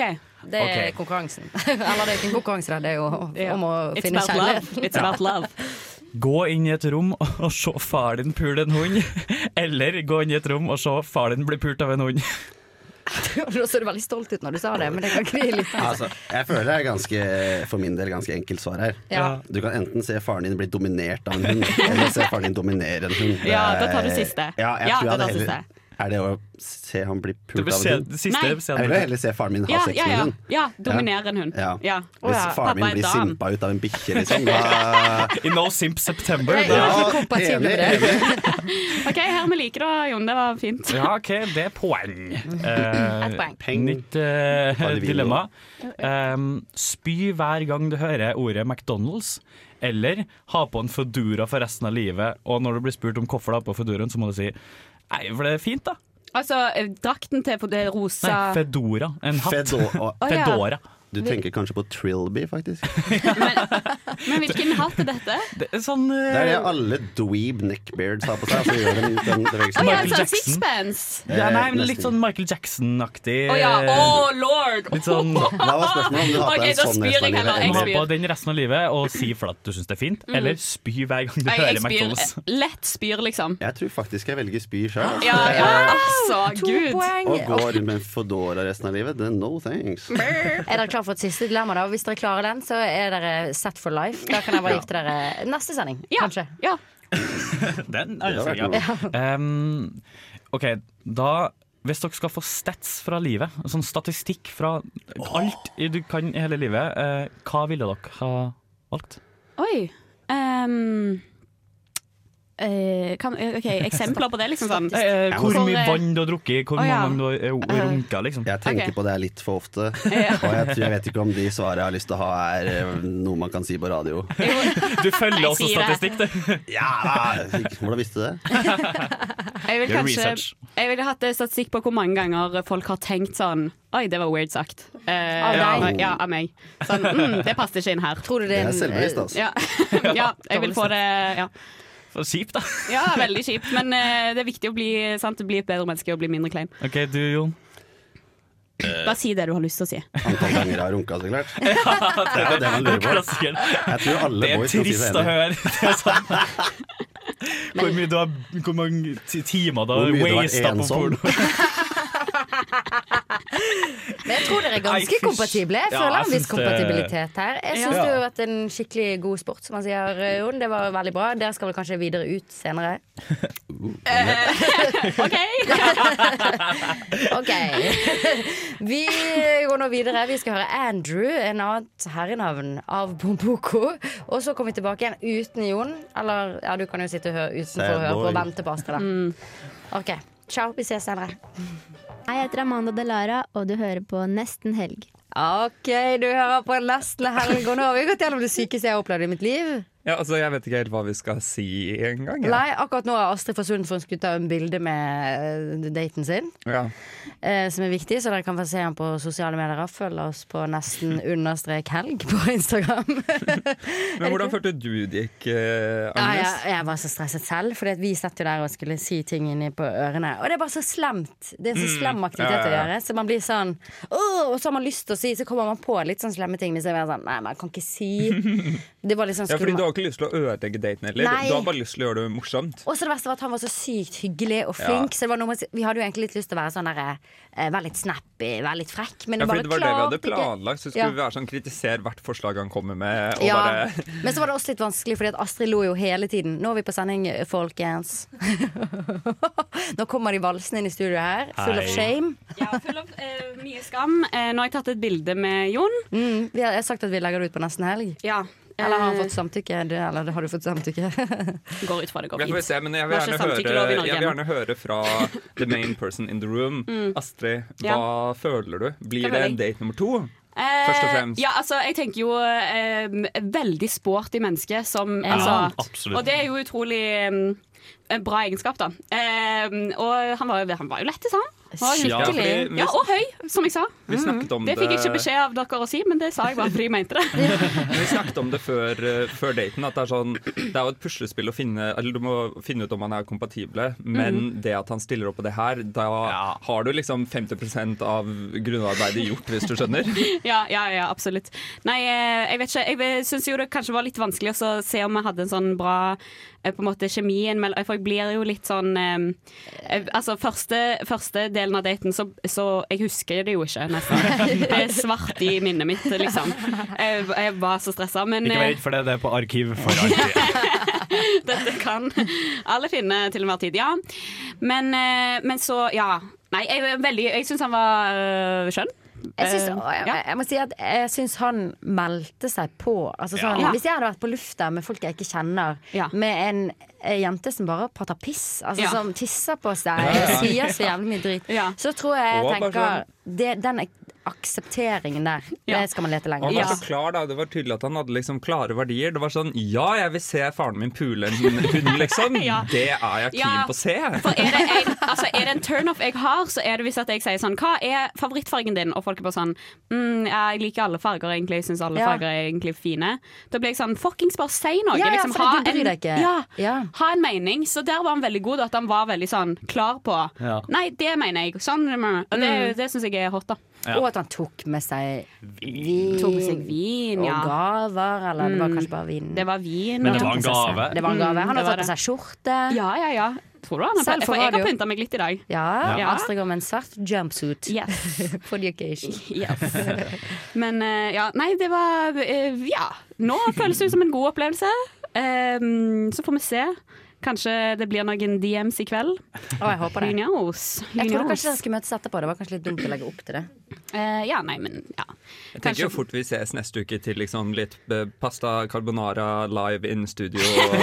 S5: Det er
S16: Ok.
S5: konkurransen. Eller det er ikke en konkurranse, da. det er jo om å
S9: It's
S5: finne
S9: about love.
S5: kjærlighet.
S9: It's about love.
S8: Gå inn i et rom og se far din pule en hund, eller gå inn i et rom og se far din bli pult av en hund.
S5: Nå så du veldig stolt ut når du sa det, men det kan ikke vi litt av.
S15: Altså, jeg føler det er ganske, for min del ganske enkelt svar her.
S5: Ja.
S15: Du kan enten se faren din bli dominert av en hund, eller se faren din dominere en hund. Det
S9: Ja, da tar du
S15: er-
S9: siste.
S15: Ja, jeg
S9: Ja, da
S15: tror jeg hadde
S9: tar du
S15: heller, er det å se han bli
S8: Du
S15: pult
S8: vil
S15: av
S8: se-
S15: en hund?
S8: siste, Nei. se han
S15: Jeg vil
S8: bli-
S15: heller se faren min ha
S9: Ja,
S15: sex
S9: ja,
S15: med
S9: ja.
S15: en hund.
S9: ja dominere en hund.
S15: Ja.
S9: Ja.
S15: Hvis
S9: Å ja.
S15: faren min
S9: Pappa er
S15: blir
S9: dam.
S15: simpa ut av en bikkje, liksom, da
S8: I No Simp September.
S9: Jeg er
S15: da-
S9: ikke kompatibel med
S15: Enig,
S9: det.
S15: enig.
S9: OK, her vi liker det, Jon. Det var fint.
S8: Ja, OK, det er poeng. Eh,
S9: Et poeng.
S8: Nytt eh,
S15: Bare vi
S8: dilemma. Um, spy hver gang du hører ordet McDonald's, eller ha på en Foodora for resten av livet. Og når du blir spurt om hvorfor du har på Fooduraen, så må du si Nei, for det er fint, da.
S9: Altså, eh, drakten til for det rosa
S8: Nei, Fedora. En hatt.
S15: Fedo-
S9: Å, ja. Fedora.
S15: Du tenker kanskje på Trilby, faktisk.
S9: Men hvilken hatt er dette?
S8: Det er sånn
S15: Det er det alle dweeb neckbeards har på seg. Så gjør de den
S9: Å
S15: bevegelsen.
S9: ja, sånn sixpence.
S8: Ja, nei, men
S15: Eh,
S8: Litt
S15: nesten.
S8: sånn Michael Jackson-aktig. eh,
S9: Å ja. Oh lord!
S8: Litt sånn
S15: Da var spørsmålet om du hadde
S9: Ok,
S15: en
S9: da
S15: sånn
S9: spyr jeg
S15: resten
S9: heller.
S15: av livet.
S9: Jeg
S8: Ha
S9: spyr.
S8: på den resten av livet og si for at du syns det er fint,
S9: Mm.
S8: eller spy hver gang du
S9: Nei,
S8: hører
S9: jeg spyr.
S8: McDonald's.
S9: eh, Lett spyr, liksom.
S15: Jeg tror faktisk jeg velger spy sjøl.
S9: Ja, ja, altså, gud.
S15: Å gå rundt med en Foodora resten av livet, det er no thanks.
S5: Er dere klare for et siste dilemma? da? Hvis dere klarer den, så er dere set for life. Da kan jeg bare gifte dere neste sending, kanskje.
S8: Den
S15: Det
S8: er
S15: hadde
S8: sangen.
S15: vært
S8: Um, OK, da hvis dere skal få stats fra livet, sånn statistikk fra alt i- du kan i hele livet, eh, hva ville dere ha valgt?
S9: Oi. ehm, eh, kan, eh, ok, Eksempler på det, liksom sånn.
S8: Eh, hvor mye
S9: eh,
S8: vann du har drukket,
S9: Å,
S8: hvor mange
S9: ja.
S8: ganger du har eh, runka, liksom.
S15: Jeg tenker
S9: Ok.
S15: på det her litt for ofte,
S9: Ja.
S15: og jeg, tror, jeg vet ikke om de svarene jeg har lyst til å ha, er eh, noe man kan si på radio.
S8: Du følger
S9: Jeg
S8: også
S9: sier det.
S8: statistikk, du.
S15: Ja, Hvordan visste du det?
S9: Jeg vil
S15: Gjør
S9: kanskje
S15: research.
S9: Jeg ville hatt eh, statistikk på hvor mange ganger folk har tenkt sånn Oi, det var weird sagt. Eh,
S5: Av deg?
S9: Ja, av meg. Sånn, mm, det passer ikke inn her.
S5: Tror du det er Det er en- selvbevisst, altså.
S9: Ja. ja, jeg vil få det Ja,
S8: For kjipt, da.
S9: ja veldig kjipt. Men eh, det er viktig å bli, sant? bli et bedre menneske og bli mindre klein.
S8: OK, du Jon.
S15: Eh.
S9: Bare si det du har lyst til å si.
S15: Antall ganger jeg har runka, så klart. Det er jo
S8: det,
S15: det man
S8: er
S15: lurer på.
S8: klassikeren.
S15: Jeg tror alle
S8: Det er
S15: boys kan si
S8: trist
S15: det
S8: å
S15: enig.
S8: høre. Det er sånn.
S16: sånn.
S8: Hvor mye du har Hvor mange ti- timer du
S15: Hvor
S8: har
S15: mye du har vært
S8: wasta på
S15: ensom.
S8: porno.
S5: Men jeg tror dere er
S8: Nei,
S5: ganske
S8: fysj.
S5: kompatible. Jeg
S8: Ja,
S5: føler
S8: jeg
S5: en viss
S8: syns det-
S5: kompatibilitet her. Jeg syns
S8: Ja.
S5: det har vært en skikkelig god sport, som han sier, eh, Jon. Det var veldig bra. Dere skal vel kanskje videre ut senere? OK. Vi går nå videre. Vi skal høre Andrew, en annet herrenavn av Bomboko. Og så kommer vi tilbake igjen uten Jon. Eller ja, du kan jo sitte og høre utenfor og
S17: Sad
S5: høre på
S17: boy.
S5: og vente på Astrid, da. OK. Ciao. Vi ses senere.
S17: Hei, jeg heter Amanda Delara, og du hører på Nesten helg.
S5: OK, du hører på Nesten helg, og nå har vi gått gjennom det sykeste jeg har opplevd i mitt liv.
S11: Ja, altså, jeg vet ikke helt hva vi skal si engang. jeg.
S5: Nei, akkurat nå har Astrid fra Sundfond skutt av en bilde med eh, daten sin,
S11: Ja.
S5: eh, som er viktig, så dere kan få se den på sosiale medier. Følg oss på nesten understrek helg på Instagram.
S11: Men hvordan følte du det gikk, eh,
S5: Ja, jeg,
S11: Agnes?
S5: jeg var så stresset selv, for vi satt jo der og skulle si ting inni på ørene. Og det er bare så slemt. Det er så
S17: Mm,
S5: slem aktivitet
S17: ja, ja, ja.
S5: å gjøre. Så man blir sånn «Åh», Og så har man lyst til å si, så kommer man på litt sånn slemme ting. Men så er man sånn Nei, men jeg kan ikke si. Det var litt sånn
S11: Ja, fordi
S5: skummelt.
S11: Du har ikke lyst til å ødelegge daten heller.
S5: Nei.
S11: Du har bare lyst til å gjøre det morsomt.
S5: Og så det verste var at han var så sykt hyggelig
S11: Ja.
S5: og flink. Så det var noe med, vi hadde jo egentlig litt lyst til å være sånn derre eh, Være litt snappy, være litt frekk. Men
S11: ja, fordi
S5: bare
S11: det var det vi hadde
S5: klarte ikke.
S11: planlagt. Så skulle
S5: Ja.
S11: vi være sånn, kritisere hvert forslag han kommer med. Og
S5: Ja.
S11: bare
S5: Men så var det også litt vanskelig, fordi at Astrid lo jo hele tiden. Nå er vi på sending, folkens. Nå kommer de valsene inn i studio her, full of
S9: Hei.
S5: shame.
S9: Ja, full av eh, mye skam. Eh, nå har jeg tatt et bilde med Jon.
S5: Mm, vi har, jeg har sagt at vi legger det ut på nesten helg.
S9: Ja.
S5: Eller har han
S9: Eh,
S5: fått samtykke? Det- Eller har du fått samtykke?
S9: Går ut fra det går
S11: Ja, får vi
S9: fint.
S11: se, men jeg vil,
S9: Vi har ikke
S11: gjerne høre,
S9: samtykkelov i Norge
S11: jeg vil
S9: ennå.
S11: gjerne høre fra the main person in the room.
S9: Mm.
S11: Astrid, hva
S9: Ja.
S11: føler du?
S9: Hva
S11: Blir det
S9: føler jeg?
S11: en date nummer to?
S9: Eh,
S11: Først og fremst.
S9: Ja, altså, jeg tenker jo eh, veldig sporty menneske som
S11: Ja,
S9: altså,
S11: absolutt.
S9: Og det er jo utrolig eh, En bra egenskap, da. Eh, og han var, jo- han var jo lættis, han. Han var
S11: Ja,
S9: skikkelig-
S11: fordi vi-
S9: ja, og høy, som jeg sa.
S11: Vi snakket om
S9: Mm, det fikk jeg
S11: det-
S9: ikke beskjed av dere å si, men det sa jeg bare fordi jeg mente det.
S11: Vi snakket om det før, eh, før daten, at det er, sånn, det er jo et puslespill å finne Eller du må finne ut om han er kompatible, men
S9: Mhm.
S11: det at han stiller opp på det her, da har du liksom 50 av grunnarbeidet gjort, hvis du skjønner.
S9: ja, ja, ja, absolutt. Nei, eh, jeg vet ikke. Jeg syns jo det kanskje var litt vanskelig også å se om vi hadde en sånn bra eh, på en måte kjemien mellom For jeg blir jo litt sånn eh, eh, Altså, første, første delen av daten, så, så Jeg husker det jo ikke, nesten. Det er svart i minnet mitt, liksom. Jeg, jeg var så stressa, men
S16: Ikke vær
S9: eh,
S16: redd for det, det er på arkiv for alltid.
S9: dette kan alle finne til enhver tid, ja. Men, eh, men så, ja. Nei, jeg, er veldig, jeg syns han var øh, skjønn.
S5: Jeg, syns,
S9: Eh,
S5: å, jeg,
S9: ja.
S5: jeg må si at jeg syns han meldte seg på. Altså,
S9: Ja.
S5: sånn,
S9: Ja.
S5: Hvis jeg hadde vært på lufta med folk jeg ikke kjenner, med en eh, jente som bare prater piss, altså,
S9: Ja.
S5: som tisser på seg
S9: Ja, ja.
S5: og sier så jævlig mye drit, så tror jeg jeg
S11: Og bare sånn-
S5: tenker det, Den ak- aksepteringen der, det skal man lete
S11: Og
S5: lenge
S11: han var så klar da, Det var tydelig at han hadde liksom klare verdier. Det var sånn Ja, jeg vil se faren min pule en hund, liksom.
S9: Ja.
S11: Det er jeg keen
S9: Ja.
S11: på å se.
S9: For er det, en, altså, er det en turnoff jeg har, så er det hvis at jeg sier sånn Hva er favorittfargen din? Og folk er bare sånn mm, ja, Jeg liker alle farger, egentlig. Jeg syns alle
S5: Ja.
S9: farger er egentlig fine. Da blir jeg sånn Fuckings, bare si noe.
S5: Ja, ja,
S9: liksom,
S5: for du bryr
S9: en,
S5: deg ikke.
S9: Ja, ha en mening. Så der var han veldig god, at han var veldig sånn klar på
S5: Ja.
S9: Nei, det mener jeg. Sånn. Og det,
S5: Mm.
S9: det syns jeg er hot, da.
S5: Og at han tok med seg vin,
S9: Tok med seg vin, ja.
S5: og gaver, eller det var
S9: Mm.
S5: kanskje bare vin.
S9: Det var vin.
S5: Men
S9: og-
S5: det var en gave. Det var en gave. Han
S9: Mm, det
S5: har
S9: var
S5: tatt på
S9: det.
S5: seg skjorte.
S9: Ja, ja, ja. Tror du han har
S5: Selv for
S9: For jeg har
S5: radio.
S9: pynta meg litt i dag.
S5: Ja,
S9: Ja.
S5: Astrid går med en svart jumpsuit for the occasion.
S9: Men eh, ja, nei, det var eh, Ja. Nå føles det ut som en god opplevelse. Ehm, så får vi se. Kanskje det blir noen DMs i kveld.
S5: Å, jeg håper det.
S9: Who knows? Who
S5: Jeg trodde
S9: knows?
S5: kanskje dere skulle møtes etterpå. Det var kanskje litt dumt å legge opp til det.
S9: Eh, ja, nei, men ja.
S11: Jeg tenker jo fort vi ses neste uke til liksom litt eh, pasta carbonara live in studio. og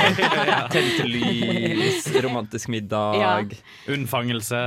S11: Tente lys, romantisk middag. Eh,
S16: Unnfangelse.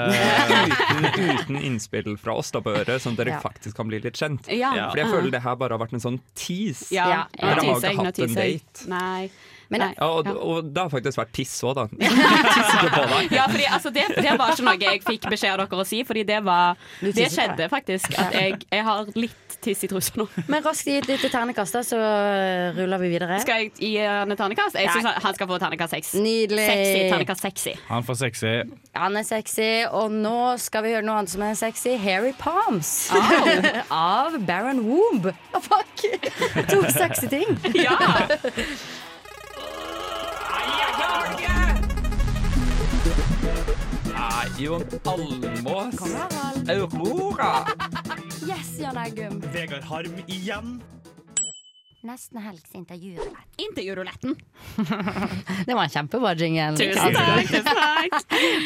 S11: Uten, uten innspill fra oss da på øret, sånn at dere
S9: Ja.
S11: faktisk kan bli litt kjent.
S9: Ja.
S11: For jeg føler det her bare har vært en sånn tease.
S9: Ja,
S11: Dere har
S9: nå
S11: jo
S9: teaser jeg,
S11: ikke
S9: nå
S11: hatt en
S9: teaser jeg.
S11: date.
S9: Nei. nei.
S11: Ja, og, og det har faktisk vært tiss òg, da. Tisser du på deg?
S9: Ja, fordi altså, det, det var ikke noe jeg fikk beskjed av dere å si, fordi det var
S5: Du
S9: Det
S5: tisset på
S9: skjedde faktisk. At jeg, jeg har litt tiss i trusa nå.
S5: Men raskt gi et lite ternekast, da, så eh, ruller vi videre.
S9: Skal jeg gi eh, han et ternekast? Jeg syns han skal få ternekast seks.
S5: Nydelig.
S9: Sexy, ternekast sexy.
S16: Han får sexy.
S5: Han er sexy, og nå skal vi høre noe annet som er sexy. Harry Palms av Baron Womb. Ah. Å, fuck! To sexy ting.
S11: Nei, Jon Almås. Aurora.
S5: Yes, Jan Eggum.
S16: Vegard Harm igjen.
S5: Nesten helgs intervjurulett.
S9: Intervjuruletten.
S5: Det var en kjempebra jingle.
S9: Tusen takk, tusen takk.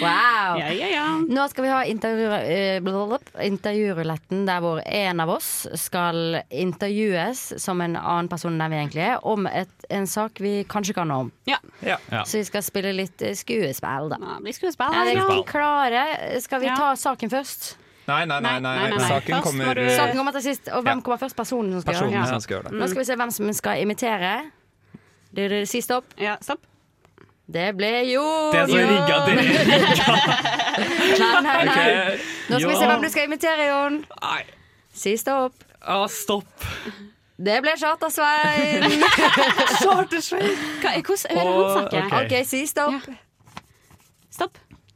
S5: Wow.
S9: Ja, ja, ja.
S5: Nå skal vi ha intervju- eh, blablabla, intervjuruletten der hvor en av oss skal intervjues som en annen person enn den vi egentlig er, om et, en sak vi kanskje kan noe om.
S9: Ja.
S5: Så vi skal spille litt eh, skuespill, da.
S9: Ja, blir skuespill.
S5: Er dere
S11: Skuespill.
S5: klare? Skal vi ta saken først?
S11: Nei, nei, nei. nei,
S9: Nei, nei, nei.
S11: Saken
S9: Først må
S11: kommer
S9: du-
S5: Saken kommer Mm. til sist, og hvem kommer først? Personen som skal
S11: Eh, Personen
S5: gjøre det.
S11: som skal gjøre
S9: Mm.
S11: det.
S5: Nå skal vi se hvem som skal imitere. Du, du, si stopp.
S9: Ja, stopp.
S5: Det ble Jon!
S16: Det er så rigga dere.
S5: Nei, nei, nei.
S16: Ok,
S5: Nå skal vi se
S16: Jon.
S5: hvem du skal imitere, Jon. Si stopp.
S16: Ja, stopp.
S5: Det ble Charter-Svein. Charter-Svein.
S9: Hvordan
S16: er det han Å, snakker? ok.
S5: OK, si stopp.
S9: Stopp.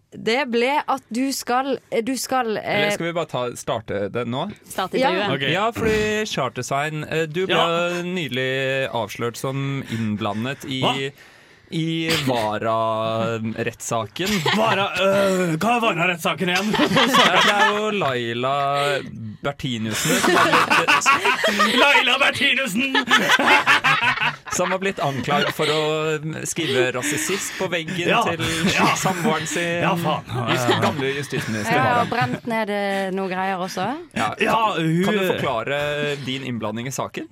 S5: Det ble at du skal Du skal
S11: Eller
S5: eh,
S11: skal vi bare ta, starte det nå?
S9: Start
S5: intervjuet. Ja. Ok.
S11: Ja, fordi Chartersvein, eh, du ble nylig avslørt som innblandet i
S16: Hva?
S11: i Vara-rettssaken.
S16: Vara, øh, hva er Vara-rettssaken igjen?
S11: Ja, det er jo Laila Bertinussen som har blitt-
S16: Laila Bertinussen!
S11: som har blitt anklaget for å skrive rasistisk på veggen
S16: Ja.
S11: til
S16: Ja.
S11: samboeren sin.
S16: Ja, faen.
S11: Just, gamle justisminister.
S5: jeg har
S11: Vara.
S5: brent ned eh, noen greier også.
S11: Ja,
S16: Ja,
S11: kan,
S16: hun-
S11: kan du forklare din innblanding i saken?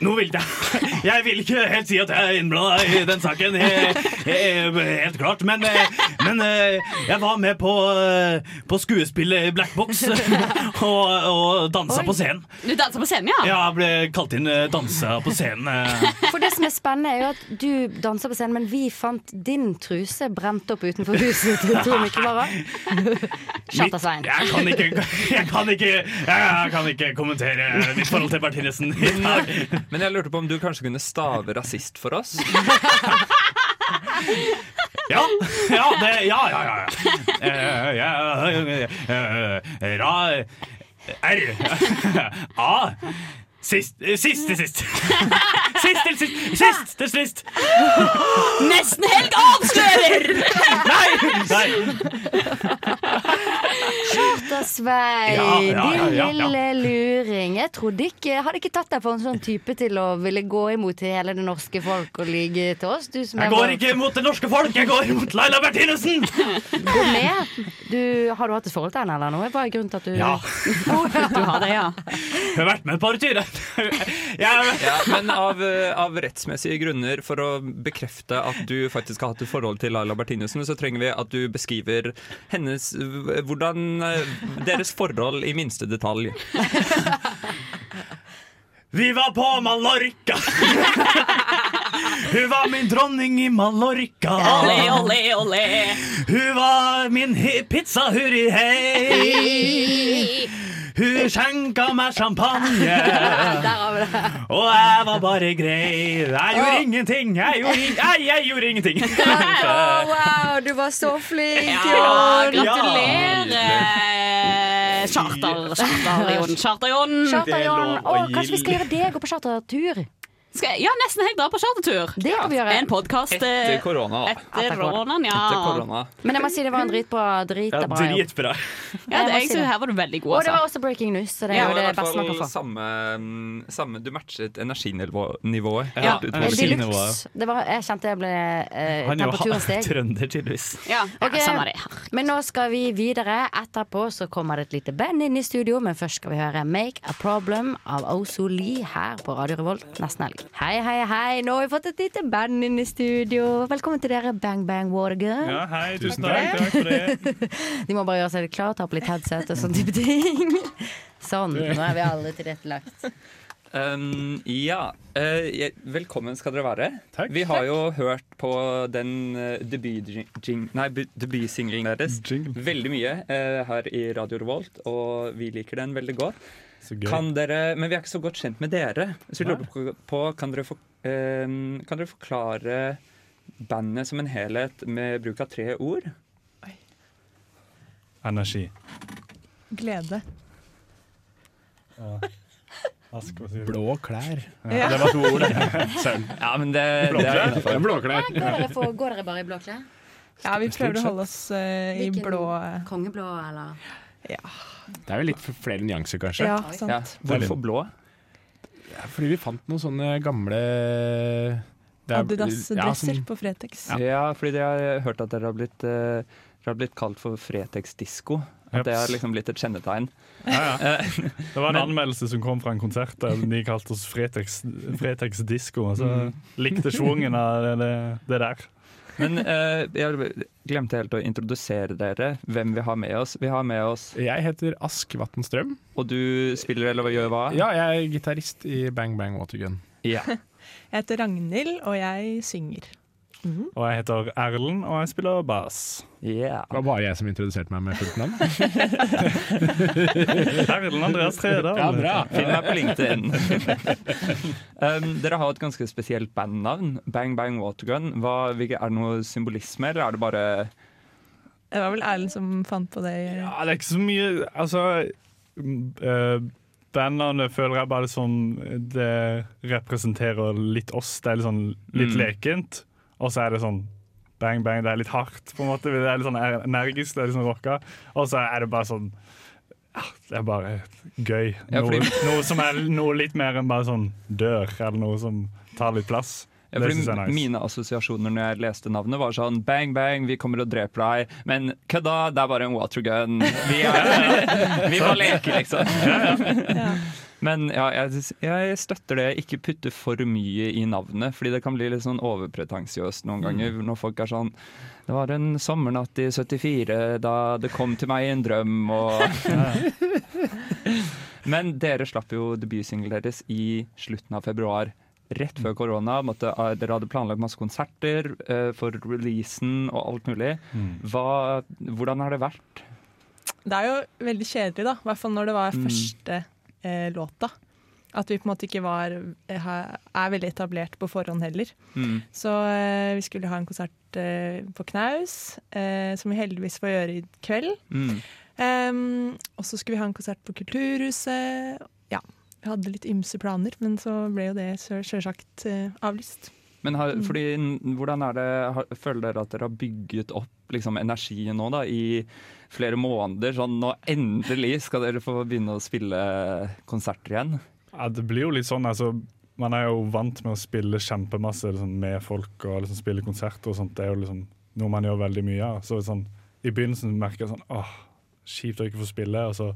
S8: Nå vil jeg Jeg vil ikke helt si at jeg er innblanda i den saken, he- he- helt klart. Men, eh, men eh, jeg var med på, eh, på skuespillet Black Box og, og dansa på scenen.
S9: Du danser på scenen, ja?
S8: Ja, jeg ble kalt inn eh, dansa på scenen. eh.
S5: For det som er spennende, er jo at du danser på scenen, men vi fant din truse brent opp utenfor huset til Tor Mikkelvarer. Shut up, Svein.
S8: Jeg kan ikke, jeg kan ikke, jeg kan ikke kommentere mitt forhold til Martinesen i dag.
S11: Men jeg lurte på om du kanskje kunne stave rasist for oss?
S8: Ja, ja, det, ja, ja, ja. Eh, ja, eh, eh, Ra... R... A... Sist, eh, sist til sist. Sist til sist. Sist til sist.
S9: Nesten helg avslører!
S8: Nei! Nei.
S5: Charter-Svein,
S8: Ja, ja, ja, ja, ja.
S5: din lille luring. Jeg trodde ikke, jeg hadde ikke tatt deg for en sånn type til å ville gå imot hele det norske folk og lyge til oss. Du som er
S8: Jeg
S5: vår-
S8: går ikke mot det norske folk, jeg går mot Laila Bertinesen!
S5: Gå med. Du, har du hatt et forhold til henne eller noe? Hva er grunnen til at du
S8: Ja.
S9: Du har det, ja.
S8: Hun har vært med et par turer.
S11: Ja, men av, eh, av rettsmessige grunner, for å bekrefte at du faktisk har hatt et forhold til Laila Bertinussen, så trenger vi at du beskriver hennes eh, Hvordan eh, Deres forhold i minste detalj.
S8: Vi var på Mallorca. Hun var min dronning i Mallorca.
S9: Olé, olé, olé.
S8: Hun var min hi- pizzahurri, hei. Hun skjenka meg champagne,
S5: Der har vi det.
S8: og jeg var bare grei. Jeg gjorde ingenting, jeg gjorde, ing- nei, jeg gjorde ingenting.
S5: Å, wow, du var så flink,
S9: Ja,
S5: Jon.
S9: gratulerer! eh, Charter, Charter-Jon. Charter-Jon.
S5: Charter-Jon. Å, kanskje vi skal gjøre deg og på chartertur?
S9: Skal jeg- ja, nesten helt dra på chartertur.
S5: Det kan vi gjøre.
S9: En eh, podkast
S5: Eh,
S11: Etter korona, da.
S9: Etter koronaen, ja.
S11: Etter korona.
S5: Men jeg må si det var en dritbra drita bra jobb.
S8: dritbra.
S9: Ja, det,
S5: Jeg må
S9: jeg
S5: si
S9: synes
S5: det.
S9: her var du veldig god,
S5: Og det var
S9: altså.
S5: også breaking news, så det er jo det
S11: i hvert
S5: beste man
S11: fall
S5: kan få.
S11: Samme, mm, samme, du matchet energinivået.
S5: Ja,
S11: Helt
S5: eh,
S11: utrolig.
S5: Deluxe. Det var, jeg kjente jeg ble eh, Temperaturen steg.
S8: tydeligvis.
S9: Ja,
S5: Ok,
S9: ja samme det.
S5: Men nå skal vi videre. Etterpå så kommer det et lite band inn i studio, men først skal vi høre Make a Problem av Ozo Lee her på Radio Revolt nesten helg. Hei, hei, hei. Nå har vi fått et lite band inn i studio. Velkommen til dere, Bang Bang Watergirl.
S18: Ja, hei, tusen
S5: Takk
S18: takk.
S5: for
S18: Takk for det.
S5: De må bare gjøre seg litt klar, ta på litt headset og sånn type ting. Sånn. Nå er vi alle tilrettelagt.
S11: Um, ja. Eh, jeg- velkommen skal dere være. Vi har jo hørt på den eh, debut- jing- nei, bu- debutsingelen deres veldig mye eh, her i Radio Revolt, og vi liker den veldig godt.
S18: gøy.
S11: Kan dere, men vi er ikke så godt kjent med dere, så vi lurer på, på kan, dere for, eh, kan dere forklare bandet som en helhet med bruk av tre ord?
S18: Energi.
S19: Glede.
S20: Blå klær.
S19: Ja. Det var to ord, det.
S11: Ja, men det, det
S18: Blåklær.
S11: er innenfor.
S18: Blåklær.
S5: Går dere, for, går dere bare i blå klær?
S19: Ja, vi
S18: Stort
S19: prøver å
S18: sett.
S19: holde oss eh, i
S5: Hvilken-
S19: blå
S5: Kongeblå, eller?
S18: Det er jo litt flere nyanser, kanskje.
S19: Ja, sant. Ja,
S11: hvorfor blå?
S18: Fordi vi fant noen sånne gamle det er- ja, sånn. som-
S19: Adidas-dresser på Fretex.
S11: Ja. fordi jeg har hørt at dere har blitt, eh, dere har blitt kalt for Fretex Disko.
S18: Japs.
S11: At det har liksom blitt et kjennetegn.
S18: Ja, ja. Det var en
S11: Men-
S18: anmeldelse som kom fra en konsert der de kalte oss Fretex, Fretex Disco. Og
S11: Mm.
S18: så likte schwungen av det, det der.
S11: Men eh, jeg glemte helt å introdusere dere, hvem vi har med oss. Vi har med oss
S18: Jeg heter Ask Vatnstrøm.
S11: Og du spiller eller gjør hva?
S18: Ja, jeg er gitarist i Bang Bang Watergun.
S11: Ja.
S19: Jeg heter Ragnhild, og jeg synger.
S18: Og jeg heter Erlend, og jeg spiller bass.
S11: Det
S18: var bare jeg som introduserte meg med fullt navn. Erlend Andreas Tredal.
S11: Ja, bra. Finn meg på LinkedIn. um, dere har et ganske spesielt bandnavn. Bang Bang Watergun. Hva, hvilke- er det noe symbolisme, eller er det bare
S19: Det var vel Erlend som fant på det.
S11: Eh,
S18: Ja, det er ikke så mye Altså uh, Bandnavnet føler jeg bare som Det representerer litt oss. Det er litt sånn litt
S11: Mm.
S18: lekent. Og så er det sånn bang, bang. Det er litt hardt, på en måte. Det er litt sånn energisk, det er litt sånn rocka. Og så er det bare sånn ja, det er bare gøy.
S11: Ja,
S18: Noe,
S11: fordi-
S18: noe som er noe litt mer enn bare sånn dør, eller noe som tar litt plass.
S11: Ja,
S18: det
S11: fordi
S18: syns jeg er nice.
S11: Mine assosiasjoner når jeg leste navnet, var sånn Bang, bang, vi kommer og dreper deg. Men kødda, det er bare en watergun. Vi, er, vi var leke, liksom. Men ja, jeg, jeg støtter det. Ikke putte for mye i navnet, fordi det kan bli litt sånn overpretensiøst noen ganger. Når folk er sånn Det var en sommernatt i 74 da det kom til meg en drøm og Men dere slapp jo debutsingelen deres i slutten av februar. Rett før korona. måtte- eh, Dere hadde planlagt masse konserter eh, for releasen og alt mulig. Hva, hvordan har det vært?
S19: Det er jo veldig kjedelig, da. I hvert fall når det var
S11: Mm.
S19: første eh, låta. At vi på en måte ikke var, eh, ha- er veldig etablert på forhånd heller.
S21: Mm.
S19: Så eh, vi skulle ha en konsert eh, på Knaus, eh, som vi heldigvis får gjøre i kveld.
S21: Mm.
S19: Em, og så skulle vi ha en konsert på Kulturhuset. Ja, vi hadde litt ymse planer, men så ble jo det sjø- sjølsagt eh, avlyst.
S11: Men har,
S19: Mm.
S11: fordi, n- hvordan er det, har, føler dere at dere har bygget opp liksom, energien nå da, i flere måneder? Sånn, nå endelig skal dere få begynne å spille konserter igjen.
S18: Ja, det blir jo litt sånn, altså Man er jo vant med å spille kjempemasse liksom, med folk og liksom, spille konserter og sånt. Det er jo liksom noe man gjør veldig mye av. Så sånn, i begynnelsen merker jeg sånn åh, kjipt å ikke få spille. Og så,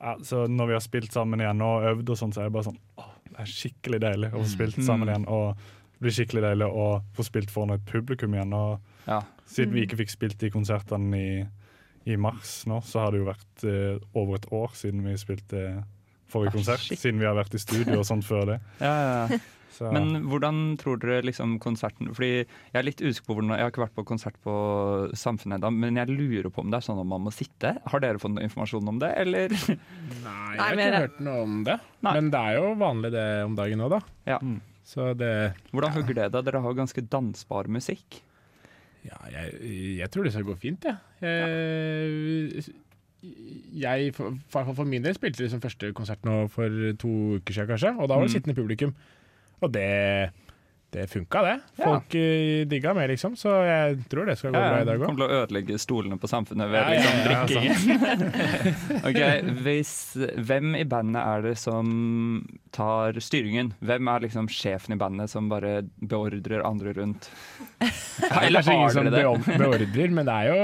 S18: ja, så når vi har spilt sammen igjen og øvd og sånn, så er det bare sånn åh, det er skikkelig deilig å få spilt sammen
S11: Mm.
S18: igjen. Og det blir skikkelig deilig å få spilt foran et publikum igjen. Og siden vi
S11: Mm.
S18: ikke fikk spilt de konsertene i, i mars nå, så har det jo vært eh, over et år siden vi spilte forrige
S11: Ah,
S18: konsert,
S11: shit.
S18: siden vi har vært i studio og sånt før det.
S11: Ja, ja.
S18: Så-
S11: Men hvordan tror dere liksom konserten Fordi jeg er litt usikker på hvordan Jeg har ikke vært på konsert på Samfunnet ennå, men jeg lurer på om det er sånn at man må sitte. Har dere fått noe informasjon om det, eller?
S20: Nei,
S11: Nei,
S20: jeg har
S11: men-
S20: ikke hørt noe om det. Men det er jo vanlig det om dagen nå, da. Mm. Så det
S11: Hvordan hugger det deg? Dere har jo ganske dansbar musikk.
S20: Ja, jeg, jeg tror det skal gå fint, jeg. Jeg, jeg for, for, for min del spilte liksom første konsert nå for to uker siden, kanskje. Og da var det
S18: Mm.
S20: sittende publikum. Og det, det funka, det. Folk eh, digga meg, liksom. Så jeg tror det skal gå bra i dag òg.
S11: Kommer til å ødelegge stolene på Samfunnet ved
S20: Ja, altså. ja,
S11: liksom
S20: ja,
S11: drikkingen. ok, hvis, Hvem i bandet er det som tar styringen? Hvem er liksom sjefen i bandet som bare beordrer andre rundt?
S20: Det er kanskje ingen som beor-
S11: det?
S20: beordrer, men det er jo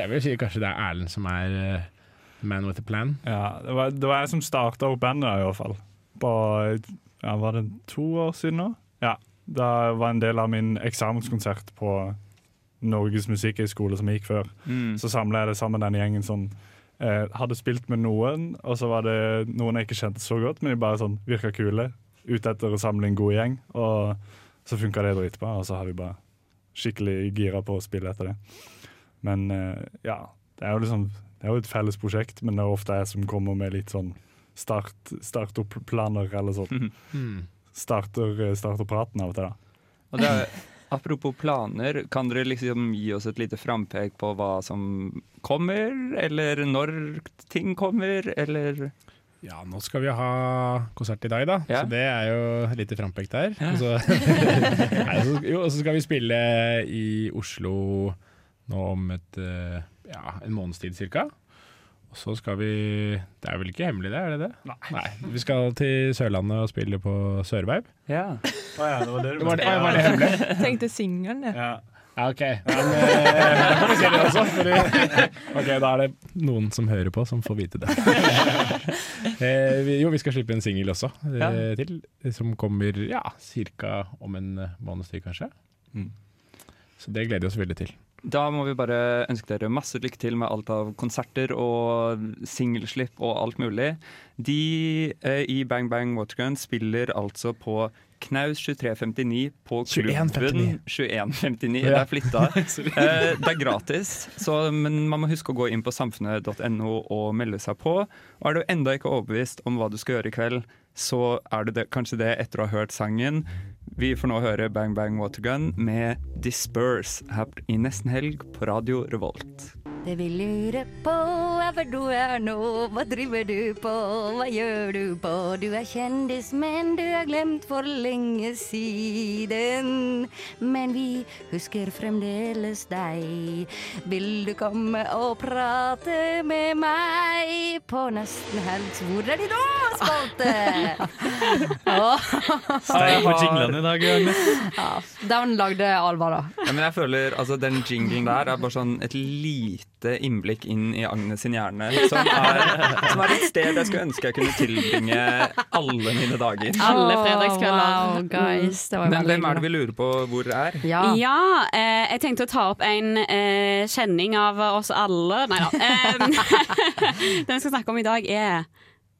S20: Jeg vil si kanskje det er Erlend som er eh, man with a plan.
S18: Ja, det var, det var jeg som starta opp bandet, i hvert fall. På, ja, var det to år siden nå? Ja. Det var en del av min eksamenskonsert på Norges musikkhøgskole som jeg gikk før.
S22: Mm.
S18: Så samla jeg det sammen den gjengen som eh, hadde spilt med noen, og så var det noen jeg ikke kjente så godt, men de bare sånn virka kule. Ute etter å samle en god gjeng, og så funka det dritbra. Og så har vi bare skikkelig gira på å spille etter det. Men eh, ja, det er jo liksom Det er jo et felles prosjekt, men det er ofte jeg som kommer med litt sånn start, start opp planer eller sånn.
S11: Hmm.
S20: Mm.
S18: Starter, starter praten av og til, da.
S11: Og det er, apropos planer, kan dere liksom gi oss et lite frampek på hva som kommer? Eller når ting kommer, eller
S20: Ja, nå skal vi ha konsert i dag, da.
S11: Ja.
S20: Så det er jo et lite frampek der. Og så- Nei, så- jo, og så skal vi spille i Oslo nå om et, eh, ja, en måneds tid cirka. Og så skal vi Det er vel ikke hemmelig, det? er det det? Nei. Vi skal til Sørlandet og spille på Sørveib.
S11: Ja.
S18: Å ja, det var det
S20: Var det, var det hemmelig?
S19: Tenkte singelen, jeg.
S20: Ja, OK. Men eh, da får vi se det også. Fordi, ok, Da er det noen som hører på, som får vite det. eh, vi, jo, vi skal slippe en singel også eh,
S11: Ja.
S20: til, som kommer ja, ca. om en eh, måneds tid, kanskje.
S8: Mm.
S20: Så det gleder vi oss veldig til.
S11: Da må vi bare ønske dere masse lykke til med alt av konserter og singelslipp og alt mulig. De eh, i Bang Bang Watergun spiller altså på Knaus 2359 på klubben
S20: 2159. Ja.
S11: 2159. Det er flytta. Eh, det er gratis, så, men man må huske å gå inn på samfunnet.no og melde seg på. Og er du enda ikke overbevist om hva du skal gjøre i kveld, så er du det, kanskje det etter å ha hørt sangen. Vi får nå høre Bang Bang Watergun med Disperse her i nesten helg på Radio Revolt.
S23: Det vi lurer på er hvor du er nå, hva driver du på, hva gjør du på? Du er kjendis, men du er glemt for lenge siden. Men vi husker fremdeles deg. Vil du komme og prate med meg på nesten helg? Hvor er de nå, spalte?
S11: Stein på
S16: jinglene
S11: i dag, Agnes.
S5: Ja, den lagde Alva, da.
S11: Ja, men jeg føler altså, Den jinglen der er bare sånn et lite lite innblikk inn i Agnes sin hjerne, som er, som er et sted jeg skulle ønske jeg kunne tilbringe alle mine dager.
S9: Alle fredagskvelder.
S5: Wow, guys, det var jo
S11: Men hvem
S5: veldig
S11: er det
S5: hyggelig.
S11: vi lurer på hvor er?
S9: Ja, eh, jeg tenkte å ta opp en eh, kjenning av oss alle. Nei da. Eh, den vi skal snakke om i dag, er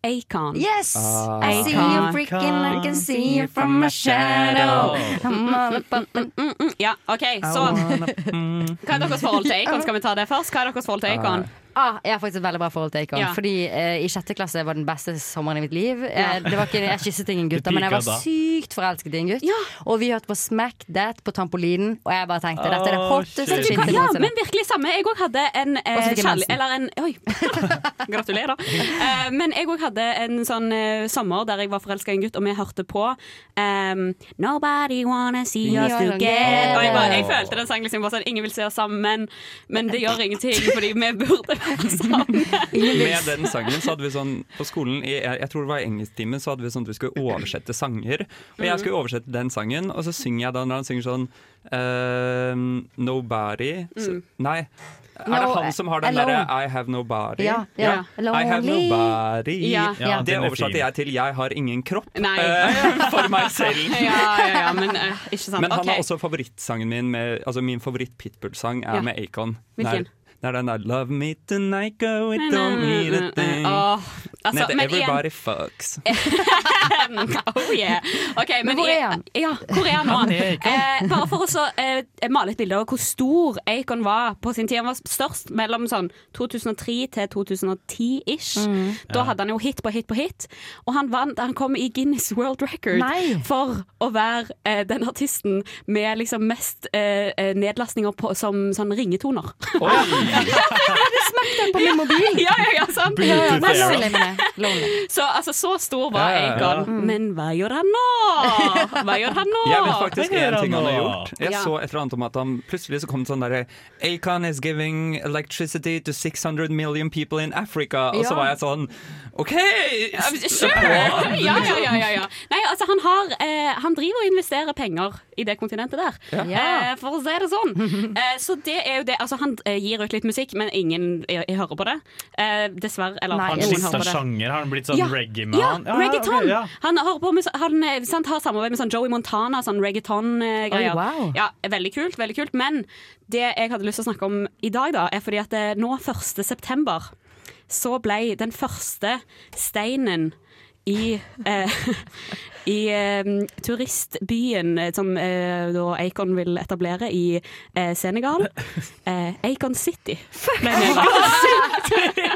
S9: Acon.
S23: Yes! I see you freaking, I can see you from my shadow. I'm all up on-
S9: Ja, OK, så Hva er deres forhold til Acon? Skal vi ta det først? Hva er deres forhold til Acon?
S5: Ah, jeg har faktisk et veldig bra forhold til Acon.
S9: Ja.
S5: Fordi eh, I sjette klasse var den beste sommeren i mitt liv. Eh,
S9: Ja.
S5: det var ikke, jeg kysset ingen
S9: Det
S5: gutter, men jeg
S9: pika
S5: var
S9: da.
S5: sykt forelsket i en gutt. Og vi hørte på Smack That på trampolinen, og jeg bare tenkte dette er det
S9: Åh,
S5: hotteste
S9: shit.
S5: skinnet
S9: Ja,
S5: noensinne.
S9: men virkelig samme. Jeg òg hadde en eh,
S5: Og så fikk jeg
S9: kjærlig...
S5: mensen.
S9: Eller en Oi! Gratulerer. Eh, men jeg òg hadde en sånn eh, sommer der jeg var forelska i en gutt, og vi hørte på ehm, Nobody wanna see
S23: Ja,
S9: us
S23: den-
S9: together. Og jeg, bare, jeg
S23: Åh.
S9: følte den sangen liksom bare sånn Ingen vil se oss sammen, men det gjør ingenting, fordi vi burde være sammen.
S11: Med den sangen så hadde vi sånn På skolen, i, jeg, jeg tror det var i engelsktimen, så hadde vi sånn at vi skulle oversette sanger. Og jeg
S9: Mm.
S11: skulle oversette den sangen, og så synger jeg da når han synger sånn ehm, Nobody så,
S23: Mm.
S11: Nei. Er det
S23: No,
S11: han som har den
S23: alone.
S11: derre I have nobody?
S23: Ja, ja.
S11: I have
S23: Lonely.
S11: nobody.
S9: Ja. Ja,
S11: Det
S9: den er
S11: oversatte
S9: fin.
S11: jeg til Jeg har ingen kropp.
S9: Nei.
S11: eh, for meg selv.
S9: ja, ja, ja, men eh, ikke sant.
S11: Men han
S9: Ok.
S11: har også favorittsangen min med, Altså min favoritt-Pitbull-sang er
S9: Ja.
S11: med Acon.
S9: Hvilken?
S11: Det er den der Love me tonight, go it
S9: Nei, nei,
S11: don't
S9: nei,
S11: need
S9: nei,
S11: a
S9: nei.
S11: thing.
S9: eh, Åh,
S11: Den
S9: altså,
S11: heter
S9: men igjen-
S11: Everybody Fucks.
S9: oh yeah. Ok, men,
S23: Men hvor er han?
S9: Ja, hvor er han nå?
S23: Han er Akon.
S9: Eh, bare for å så, eh, male et bilde av hvor stor Acon var på sin tid. Han var størst mellom sånn 2003 til 2010-ish. Da
S23: Ja.
S9: hadde han jo hit på hit på hit. Og han vant, han kom i Guinness World Record
S23: Nei.
S9: for å være eh, den artisten med liksom mest eh, eh, nedlastninger på, som sånn ringetoner.
S23: Det
S5: smakte
S23: på min mobil.
S9: Ja, ja, ja, sant.
S23: Bluetooth Ja, ja, men era.
S5: lonely,
S9: Så altså, så stor var
S11: Ja, ja, ja.
S9: Acon.
S11: Mm.
S9: Men hva gjør han nå? Hva gjør han nå?
S11: Jeg vet faktisk én ting han har gjort. Jeg
S9: Ja.
S11: så et eller annet om at han plutselig så kom det sånn derre Acon is giving electricity to 600 million people in Africa. Og
S9: Ja.
S11: så var jeg sånn OK!
S9: Sure! Ja, ja, ja, ja, ja. Nei, altså han har eh, Han driver og investerer penger i det kontinentet der,
S11: Ja.
S9: eh, for å si det sånn. Eh, så det er jo det Altså, han eh, gir ut litt musikk, men ingen jeg, jeg hører på det. Eh, dessverre. Eller
S16: Han
S9: noen hører
S16: skifta
S9: på det.
S16: sjanger, har han blitt sånn
S9: Ja, Ja,
S16: reggae-man?
S9: reggaeton!
S16: ok, ja.
S9: Han, har på med, så- han eh, sant, har samarbeid med sånn Joey Montana, sånn reggaeton-greier.
S5: Oi, wow.
S9: ja, veldig kult, veldig kult. Men det jeg hadde lyst til å snakke om i dag, da, er fordi at eh, nå 1. september så ble den første steinen i, eh, i eh, turistbyen eh, som eh, da Acon vil etablere i eh, Senegal. Eh, Acon City. Fuck!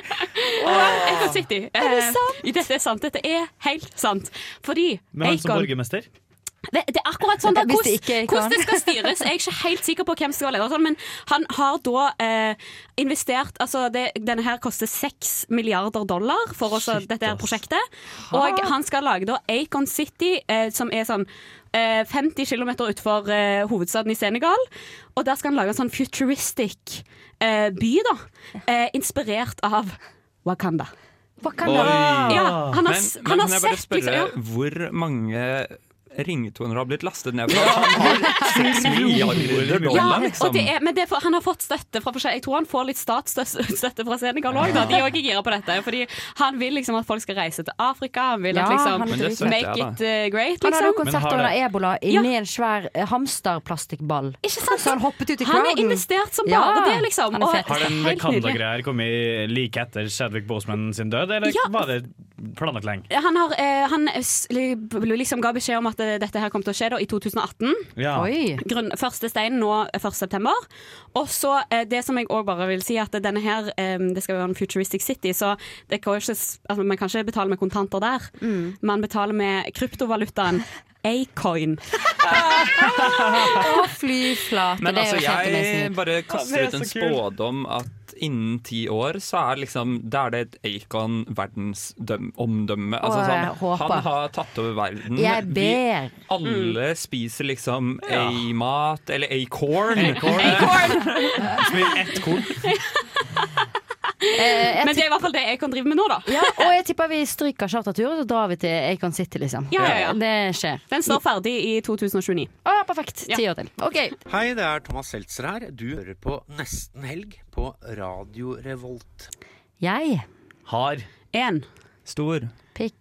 S9: Acon City.
S23: Er det
S9: Eh, Dette er sant. Dette er helt sant. Fordi
S16: Med han som
S9: Acon-
S16: borgermester?
S9: det, det er akkurat sånn da,
S5: Hvis
S9: hvordan,
S5: det ikke er Acon.
S9: hvordan det skal styres. Jeg er ikke helt sikker på hvem som skal være leder, og sånn, men han har da eh, investert altså det, Denne her koster 6 milliarder dollar for oss, dette her prosjektet. Og han skal lage da Acon City, eh, som er sånn eh, 50 km utenfor eh, hovedstaden i Senegal. Og der skal han lage en sånn futuristic eh, by, da. Eh, inspirert av Wakanda. Wakanda. Ja, han har,
S11: men,
S9: s-
S11: men
S9: han har
S11: kan jeg bare
S9: sett
S11: spørre
S9: liksom, ja.
S11: hvor mange ringetoner har blitt lastet ned? For han har 6 milliarder dollar,
S9: og
S11: liksom.
S9: det er, men det er for, han har fått støtte fra forskjell- Jeg tror han får litt statsstøtte fra Senegal òg, da. De er også gira på dette. Fordi han vil liksom at folk skal reise til Afrika. Han vil
S5: Ja,
S9: at liksom
S5: han er Men det turist. støtter
S9: Make
S5: jeg,
S9: it uh, great,
S5: Han hadde jo
S9: liksom.
S5: konsert under ebola inni en svær eh, hamsterplastikkball. Så han hoppet ut i
S9: Han
S5: crowden.
S9: er investert som bare det, liksom.
S5: Han er
S9: Og-
S5: fet.
S16: Har den
S9: Helt nydelig.
S16: Wakanda-greia kommet like etter Chadwick Boseman sin død, eller
S9: Ja.
S16: var det planlagt lenge?
S9: Han, har, eh, han s- li- liksom ga beskjed om at eh, dette her kom til å skje da, i 2018.
S16: Ja. Oi.
S9: Grunn, første steinen nå eh, 1. september. Og så eh, det som jeg òg bare vil si, at denne her eh, Det skal jo være en futuristic city, så det kan jo ikke, s- altså, man kan ikke betale med kontanter der.
S5: Mm.
S9: Man betaler med kryptovalutaen Acoin.
S5: Å, fly flate.
S11: Men
S5: det er
S11: altså,
S5: jo helt
S11: jeg
S5: amazing.
S11: bare
S5: Ja,
S11: kaster
S5: det er
S11: ut en
S5: så kult.
S11: spådom at innen ti år så er liksom Da er det et Acon verdensomdømme. Altså,
S5: Åh, jeg
S11: sånn,
S5: håper.
S11: han har tatt over
S1: Mm,
S11: verden.
S5: Jeg ber.
S11: Vi
S5: Mm.
S11: alle spiser liksom
S5: Ja.
S11: A-mat, eller A-corn.
S16: Acorn. Ett korn.
S5: Eh, jeg
S9: Men det er i hvert fall det jeg kan drive med nå, da.
S5: Ja, og jeg tipper vi stryker charterturen, og så drar vi til Acon City, liksom.
S9: Ja, ja, ja.
S5: Det skjer.
S9: Den står ferdig i 2029.
S5: Å, ja, perfekt. Ti år til. OK.
S1: Hei, det er Thomas Seltzer her. Du hører på Nesten Helg på Radio Revolt.
S5: Jeg
S8: Har.
S5: En.
S11: Stor.
S5: Pikk.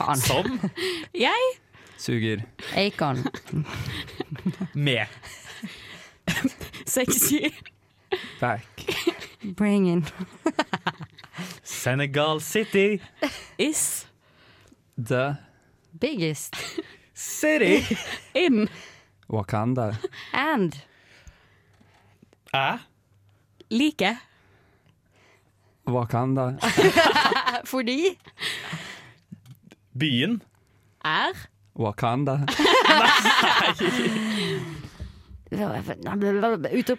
S5: Faen.
S1: Sånn.
S8: Som.
S9: Jeg
S11: Suger.
S5: Acon.
S8: Med.
S9: Sexy.
S11: Back.
S5: Bring in.
S8: Senegal City.
S9: Is.
S11: The
S5: Biggest.
S8: City.
S9: In.
S11: Wakanda.
S5: And.
S8: Æ?
S9: Like.
S11: Wakanda.
S5: Eh, Fordi
S8: Byen.
S9: er
S5: Altså,
S11: Wakanda.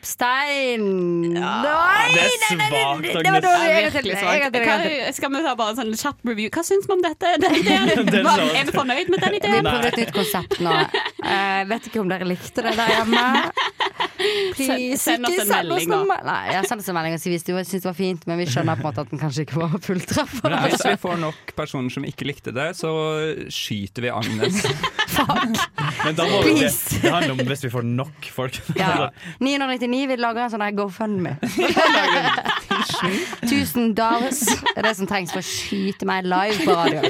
S5: Utropstegn!
S9: Nei,
S5: nei,
S9: nei, nei, nei,
S5: det- det var
S9: Ja,
S5: dårlig. Jeg kan
S9: virkelig
S5: til- jeg kan til- jeg kan til.
S9: Hva- Skal vi ta bare en sånn kjapp review? Hva syns vi om dette? Den ideen?
S5: Den
S9: Hva-
S5: sa-
S9: Er vi fornøyd med den
S5: Vi
S9: ideen?
S5: prøvde et nytt konsept nå. Eh, vet ikke om dere likte det der hjemme. Please,
S9: Send- send oss
S5: ikke
S9: en
S5: send
S9: melding,
S5: noen
S9: da.
S5: me- Nei, ja, send oss en melding og si hvis du syns det var fint, men vi skjønner på en måte at den kanskje ikke var fulltreffer.
S11: Men hvis vi får nok personer som ikke likte det, så skyter vi Agnes.
S8: Men da må vi, det,
S5: Please.
S8: det handler om hvis vi får nok folk.
S5: Ja. 999 vil lage en sånn her GoFundMe. 1000 dollars er det som trengs for å skyte meg live på radio.
S9: Og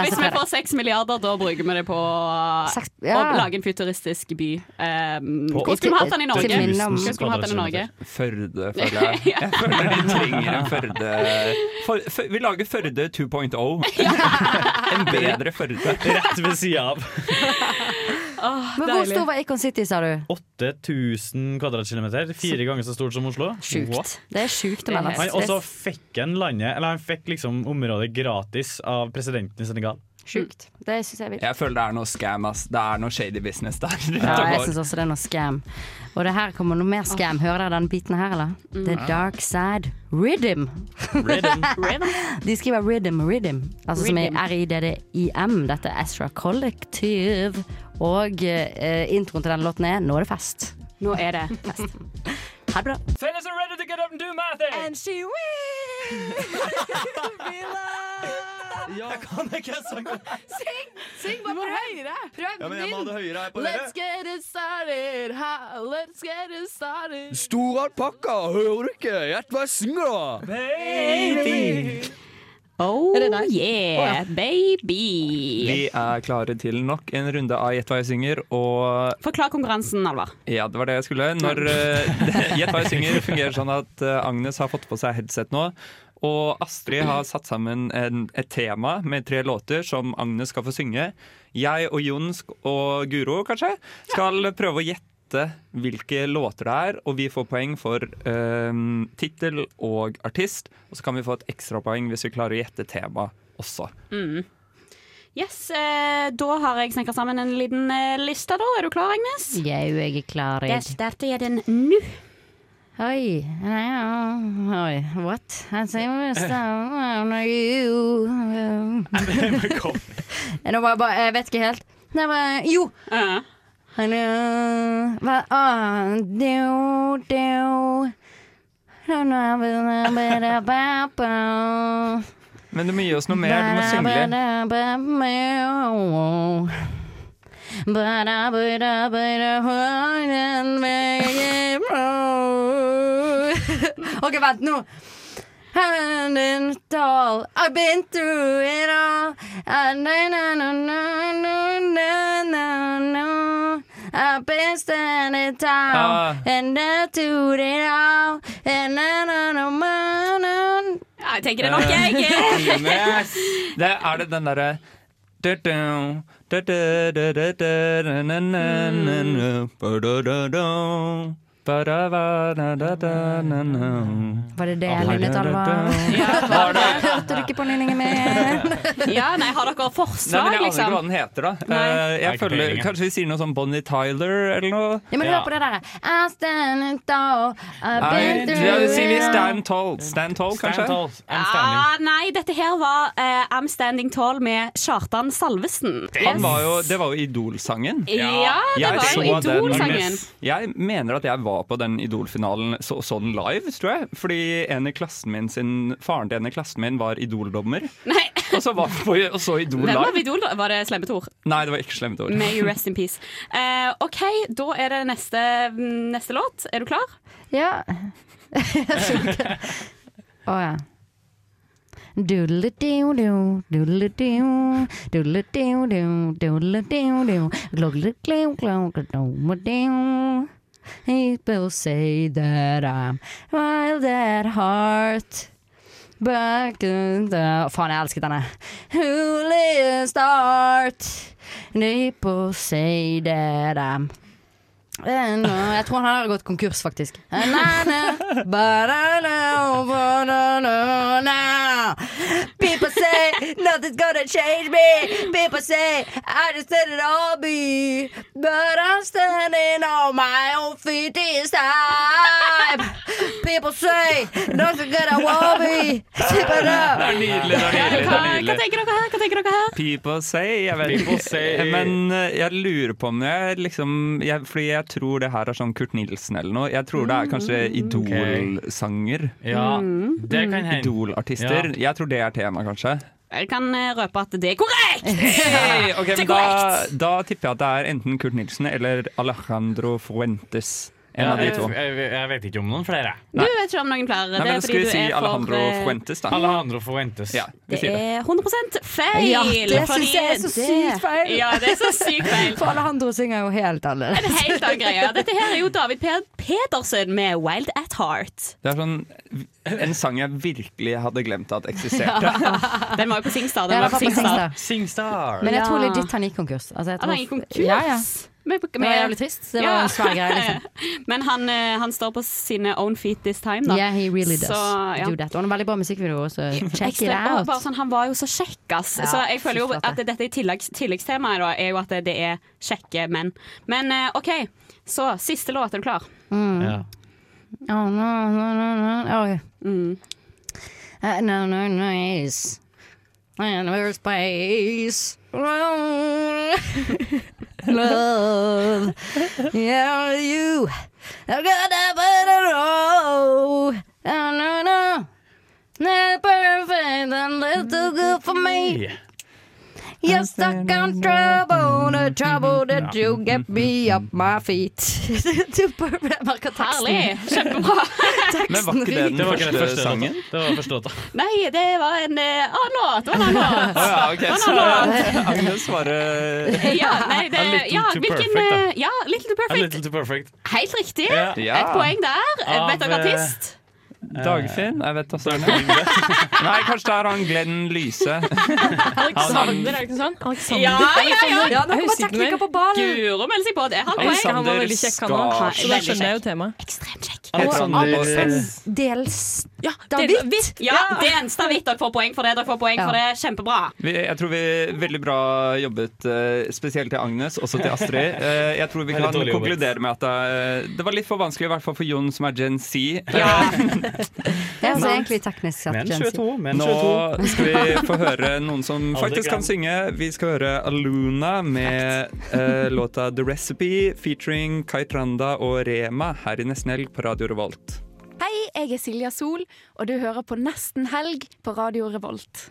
S9: hvis vi
S5: fredag.
S9: får seks milliarder, da bruker vi det på
S5: Seks-
S9: å
S5: ja.
S9: lage en futuristisk by. Um,
S11: På
S9: hvor skulle vi hatt den i Norge?
S11: 8000
S9: Hvor skulle vi hatt den i Norge?
S11: Førde, føler jeg. Jeg føler de trenger en Førde for, for, Vi lager Førde 2.0. En bedre Førde.
S8: Rett ved sida av.
S5: Men hvor stor var Acon City, sa du?
S8: 8000 kvadratkilometer. Fire ganger så stort som Oslo.
S5: Sjukt.
S8: What?
S5: Det er sjukt å melde.
S8: Han også fikk han landet Eller han fikk liksom området gratis av presidenten i Senegal.
S5: Sjukt. Det syns jeg er vilt.
S11: Jeg føler det er noe scam, ass. Det er noe shady business der.
S5: Ja, jeg syns også det er noe scam. Og det her kommer noe mer scam. Hører dere den biten her, eller? The dark side rhythm.
S21: Rhythm.
S5: De skriver rhythm, rhythm. Altså som i
S21: Rhythm.
S5: R-I-D-D-I-M. Dette er Ezra Kollektiv. Og eh, introen til den låten er Nå er det fest.
S9: Nå er det fest.
S5: Ha det bra.
S21: Fellas are ready to get up and do my thing. And she will.
S8: Jeg kan ikke sange.
S21: Syng!
S22: Syng bare prøv. Prøv
S21: Ja, men jeg må ha det høyere her på dere.
S22: Let's get it started. Ha, let's get it started.
S24: Stor alpakka, hører du ikke? Gjett hva jeg synger, da!
S22: Baby.
S9: Oh
S11: Å,
S9: yeah,
S11: ja. Vi
S9: baby.
S11: er klare til nok en runde av Gjett hva jeg synger, og
S9: Forklar konkurransen, Alvar.
S11: Ja, det var det jeg skulle. Når eh, Gjett hva jeg synger fungerer sånn at eh, Agnes har fått på seg headset nå. Og Astrid har satt sammen en, et tema med tre låter som Agnes skal få synge. Jeg og Jon sk- og Guro, kanskje, skal prøve å gjette hvilke låter det er. Og vi får poeng for um, tittel og artist. Og så kan vi få et ekstrapoeng hvis vi klarer å gjette tema også.
S9: Mm. Yes, eh, da har jeg snekra sammen en liten eh, liste, da. Er du klar, Agnes?
S5: Jau, jeg er klar.
S9: Da
S5: Jeg.
S9: starter jeg den nå.
S5: Oi, ja, oi, what? I say we're down on you. Nå var jeg bare, jeg vet ikke helt. Nei, men, jo! Hello, hva, ah, do, do. Don't know about the better papa.
S11: Men du må gi oss noe mer. Du må synge litt.
S5: Ok, vent nå. And in it all, I've been through it all. And na na na na na na na na. I've been standing tall,
S9: Ah.
S5: and I do it all. And na na na na na.
S9: Ja, jeg tenker det er nok, jeg.
S11: Agnes! Det er det den derre du-du, du-du-du-du-du-du-na-na-na-na, ba-da-da-da, ba-da-ba-da-da-da-na-na.
S9: Mm.
S5: Var det det
S11: jeg nynnet, Alva?
S5: Hørte du ikke på nynningen min?
S9: ja, nei, har dere
S11: Nei,
S9: forslag,
S11: men Jeg aner ikke hva
S9: liksom?
S11: den heter, da. Eh,
S9: Nei.
S11: Jeg føler, Kanskje vi sier noe sånn Bonnie Tyler eller noe?
S5: Ja, men hør på det der. I stand and tall, I've been
S11: Nei,
S5: through
S11: ja, sier vi
S5: it all.
S11: Stan Toll? Stan Toll, kanskje?
S9: Ah, nei, dette her var eh, I'm Standing Tall med Kjartan Salvesen.
S11: Han var jo, det var jo Idol-sangen.
S9: Ja, det var jo
S11: så den.
S9: Idol-sangen.
S11: Jeg mener at jeg var var på den Idol-finalen, så, så den live, tror jeg. Fordi en i klassen min sin, faren til en i klassen min var Idol-dommer. Og så var vi på og så Idol
S9: Hvem var
S11: live.
S9: Vidol, da? Var det slemme Tor?
S11: Nei, det var ikke slemt ord.
S9: May you rest in peace. Eh, OK, da er det neste, neste låt. Er du klar?
S5: Ja. Å ja. Doodle-doo-doo, doodle-doo, doodle-doo-doo, doodle-doo-doo, gloggle-glow-glow-glow-doo. People say that I'm wild at heart. Back in the Faen, jeg elsket denne. Who lives start? People say that I'm Eh, nå, Jeg tror han har gått konkurs, faktisk. Eh, na, na, ba-da-da, ba-da-da-da. People say nothing's gonna change me. People say I just let it all be. But I'm standing on my own feet this time. People say nothing's gonna want me. Tip it up.
S11: Det er nydelig, det er nydelig. Det er
S9: Hva
S11: nydelig.
S9: tenker dere her? Hva tenker dere her?
S11: People say, jeg vet
S9: People
S11: ikke.
S9: say.
S11: Men eh, jeg lurer på om jeg liksom jeg, Fordi jeg tror det her er sånn Kurt Nilsen eller noe. Jeg tror det er kanskje Idol-sanger.
S8: Ja, Mm. det kan hende.
S11: Idol-artister. Jeg tror det er tema, kanskje.
S9: Jeg kan eh, røpe at det er korrekt!
S11: Hey, ok,
S9: det
S11: men
S9: er
S11: da,
S9: korrekt.
S11: da tipper jeg at det er enten Kurt Nilsen eller Alejandro Fuentes. En
S8: Ja,
S11: av de
S8: jeg-
S11: to.
S8: Jeg, jeg vet ikke om noen flere.
S9: Du vet ikke om noen flere.
S11: Nei,
S9: det
S11: men
S9: er
S11: da
S9: fordi
S11: skal vi
S9: du
S11: si
S9: er for,
S11: Alejandro
S9: eh,
S11: Fuentes, da.
S8: Alejandro Fuentes.
S11: Ja, vi
S9: Det
S11: sier det.
S9: er 100 feil!
S5: Ja, det
S9: fordi
S5: syns jeg er så
S9: det-
S5: sykt feil.
S9: Ja, det er så sykt feil.
S5: For Alejandro synger jo helt
S9: Det er en
S5: annerledes.
S9: helt annen greie. Dette her er jo David Pe- Pedersen med 'Wild at Heart'.
S11: Det er sånn, en sang jeg virkelig hadde glemt at eksisterte.
S9: Den var jo på Singstar. Den
S5: Ah. Ja,
S9: var
S5: den
S9: på
S5: var
S9: Singstar.
S5: på Singstar.
S11: Singstar.
S5: Men jeg tror
S9: Ja.
S5: legit han gikk konkurs. Altså, jeg
S9: Han
S5: tror-
S9: gikk konkurs?
S5: Ja, ja.
S9: Men,
S5: Det var jævlig trist. Det var en svær greie, liksom.
S9: Men han, eh, han står på sine own feet this time, da.
S5: Yeah, he really does
S9: Så, ja.
S5: do that. Og han har veldig bra musikkvideo også. Check it
S9: Ekstremt. Og
S5: out.
S9: bare sånn, han var jo så kjekk, ass.
S5: Ja,
S9: så jeg føler jo
S5: fy flate.
S9: at dette i tilleggs, tilleggstemaet da, er jo at det er kjekke menn. Men eh, OK, så siste låt. Er du klar?
S5: Mm.
S8: Ja.
S5: Oh, no, no, no, no. Oh, yeah. Uh, no, no, nice. And where's space? Love. Yeah, you. I've got a better row. Oh, no, no. Not perfect and little too good for me. You're stuck on trouble, the trouble that you get me up my feet. Du bare- jeg merker teksten.
S9: Herlig. Kjempebra.
S11: Men var ikke det den
S8: Det var ikke den
S11: første,
S8: første låta.
S11: sangen?
S8: Det var første låta.
S9: Nei, det var en eh, annen låt. Det var en annen låt.
S11: Å ja, ok,
S9: Det
S11: så
S9: var en annen låt.
S11: Agnes svarer
S9: Ja, nei, det,
S11: A little
S9: ja,
S11: too
S9: hvilken,
S11: perfect, da.
S9: eh, ja, Little Too
S8: A
S9: Perfect.
S8: little too perfect.
S9: Helt riktig.
S8: Ja.
S9: Et poeng der.
S11: Av,
S9: Vet dere artist?
S11: Dagfinn? Jeg vet også Nei, kanskje det er han Glenn Lyse.
S21: Alexander, er det ikke sånn? Alexander.
S9: Ja, ja, ja.
S21: Ja, nå kommer
S9: Høysigmer.
S21: tekniker på ballen.
S9: Guro melder seg på. Det er halvt poeng.
S21: Han var veldig kjekk, han
S9: Skar-
S21: òg. Så da
S9: Veldig
S21: skjønner jeg jo temaet.
S11: sånn.
S5: Dels Dels
S9: Ja,
S5: David.
S9: David. Ja, det er en stavitt. Dere får poeng for det. Dere får poeng for det. Kjempebra.
S11: Vi, jeg tror vi Veldig bra jobbet, eh, spesielt til Agnes, også til Astrid. Eh, Jeg tror vi
S8: Veldig
S11: kan
S8: dårlig jobbet.
S11: konkludere med at det, er- det var litt for vanskelig, i hvert fall for Jon, som er Gen Z.
S5: Det er altså egentlig teknisk sett
S11: Men
S5: Gen Z.
S11: 22, Nå skal vi få høre noen som
S5: Aldri
S11: faktisk kan synge. Vi skal høre Aluna med eh, låta 'The Recipe' featuring Kai Tranda og Rema her i Nesten Helg på Radio Revolt.
S21: Hei, jeg er Silja Sol, og du hører på Nesten helg på Radio Revolt.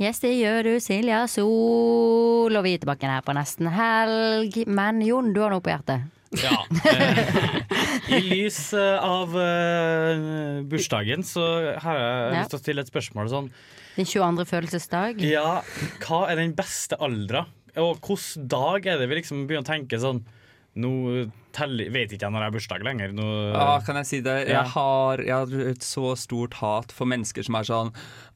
S5: Yes, det gjør du, Silja Sol. Og vi er tilbake her på nesten helg. Men Jon, du har noe på hjertet.
S8: Ja. eh, I lys eh, av eh, bursdagen så har jeg
S5: Ja.
S8: lyst til å stille et spørsmål sånn
S5: Din 22. følelsesdag.
S8: Ja, hva er den beste aldra? Og hvilken dag er det vi liksom begynner å tenke sånn Nå teller, vet ikke jeg når jeg har bursdag lenger. Nå,
S11: Ja, kan jeg si det?
S8: Ja.
S11: Jeg har, jeg har et så stort hat for mennesker som er sånn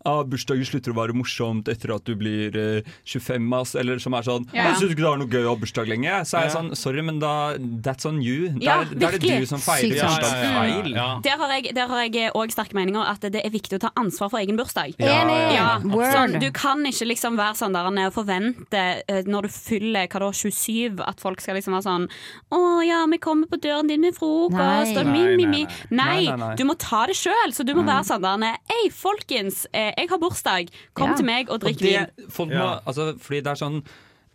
S11: ah, 'Bursdagen slutter å være morsomt etter at du blir eh, 25', ass. Eller som er sånn
S8: Ja.
S11: 'Jeg syns ikke det er noe gøy å ha bursdag lenger'. Så er jeg
S8: Ja.
S11: sånn 'Sorry, men da That's on you'. Da,
S9: Ja,
S11: er- da er det
S9: virkelig.
S11: du som feirer
S8: Sykt sant. Ja,
S11: bursdag
S8: ja, ja,
S11: feil.
S8: ja.
S9: Der har jeg- der har jeg òg sterke meninger at det er viktig å ta ansvar for egen bursdag.
S11: Ja, ja,
S9: Ja,
S11: ja.
S5: Word.
S9: sånn, du kan ikke liksom være sånn der nede og forvente eh, når du fyller hva da, 27, at folk skal liksom være sånn 'Å ja, vi kommer på døren din med frokost',
S5: Nei. Mm.
S9: og mi, mi, mi.
S5: Nei,
S9: Nei,
S5: nei, nei.
S9: du må ta det sjøl. Så du må være sånn der nede 'Ei, folkens, eh, jeg har bursdag. Kom
S11: Ja.
S9: til meg og drikk vin'.
S11: det, folk må, altså, fordi det er sånn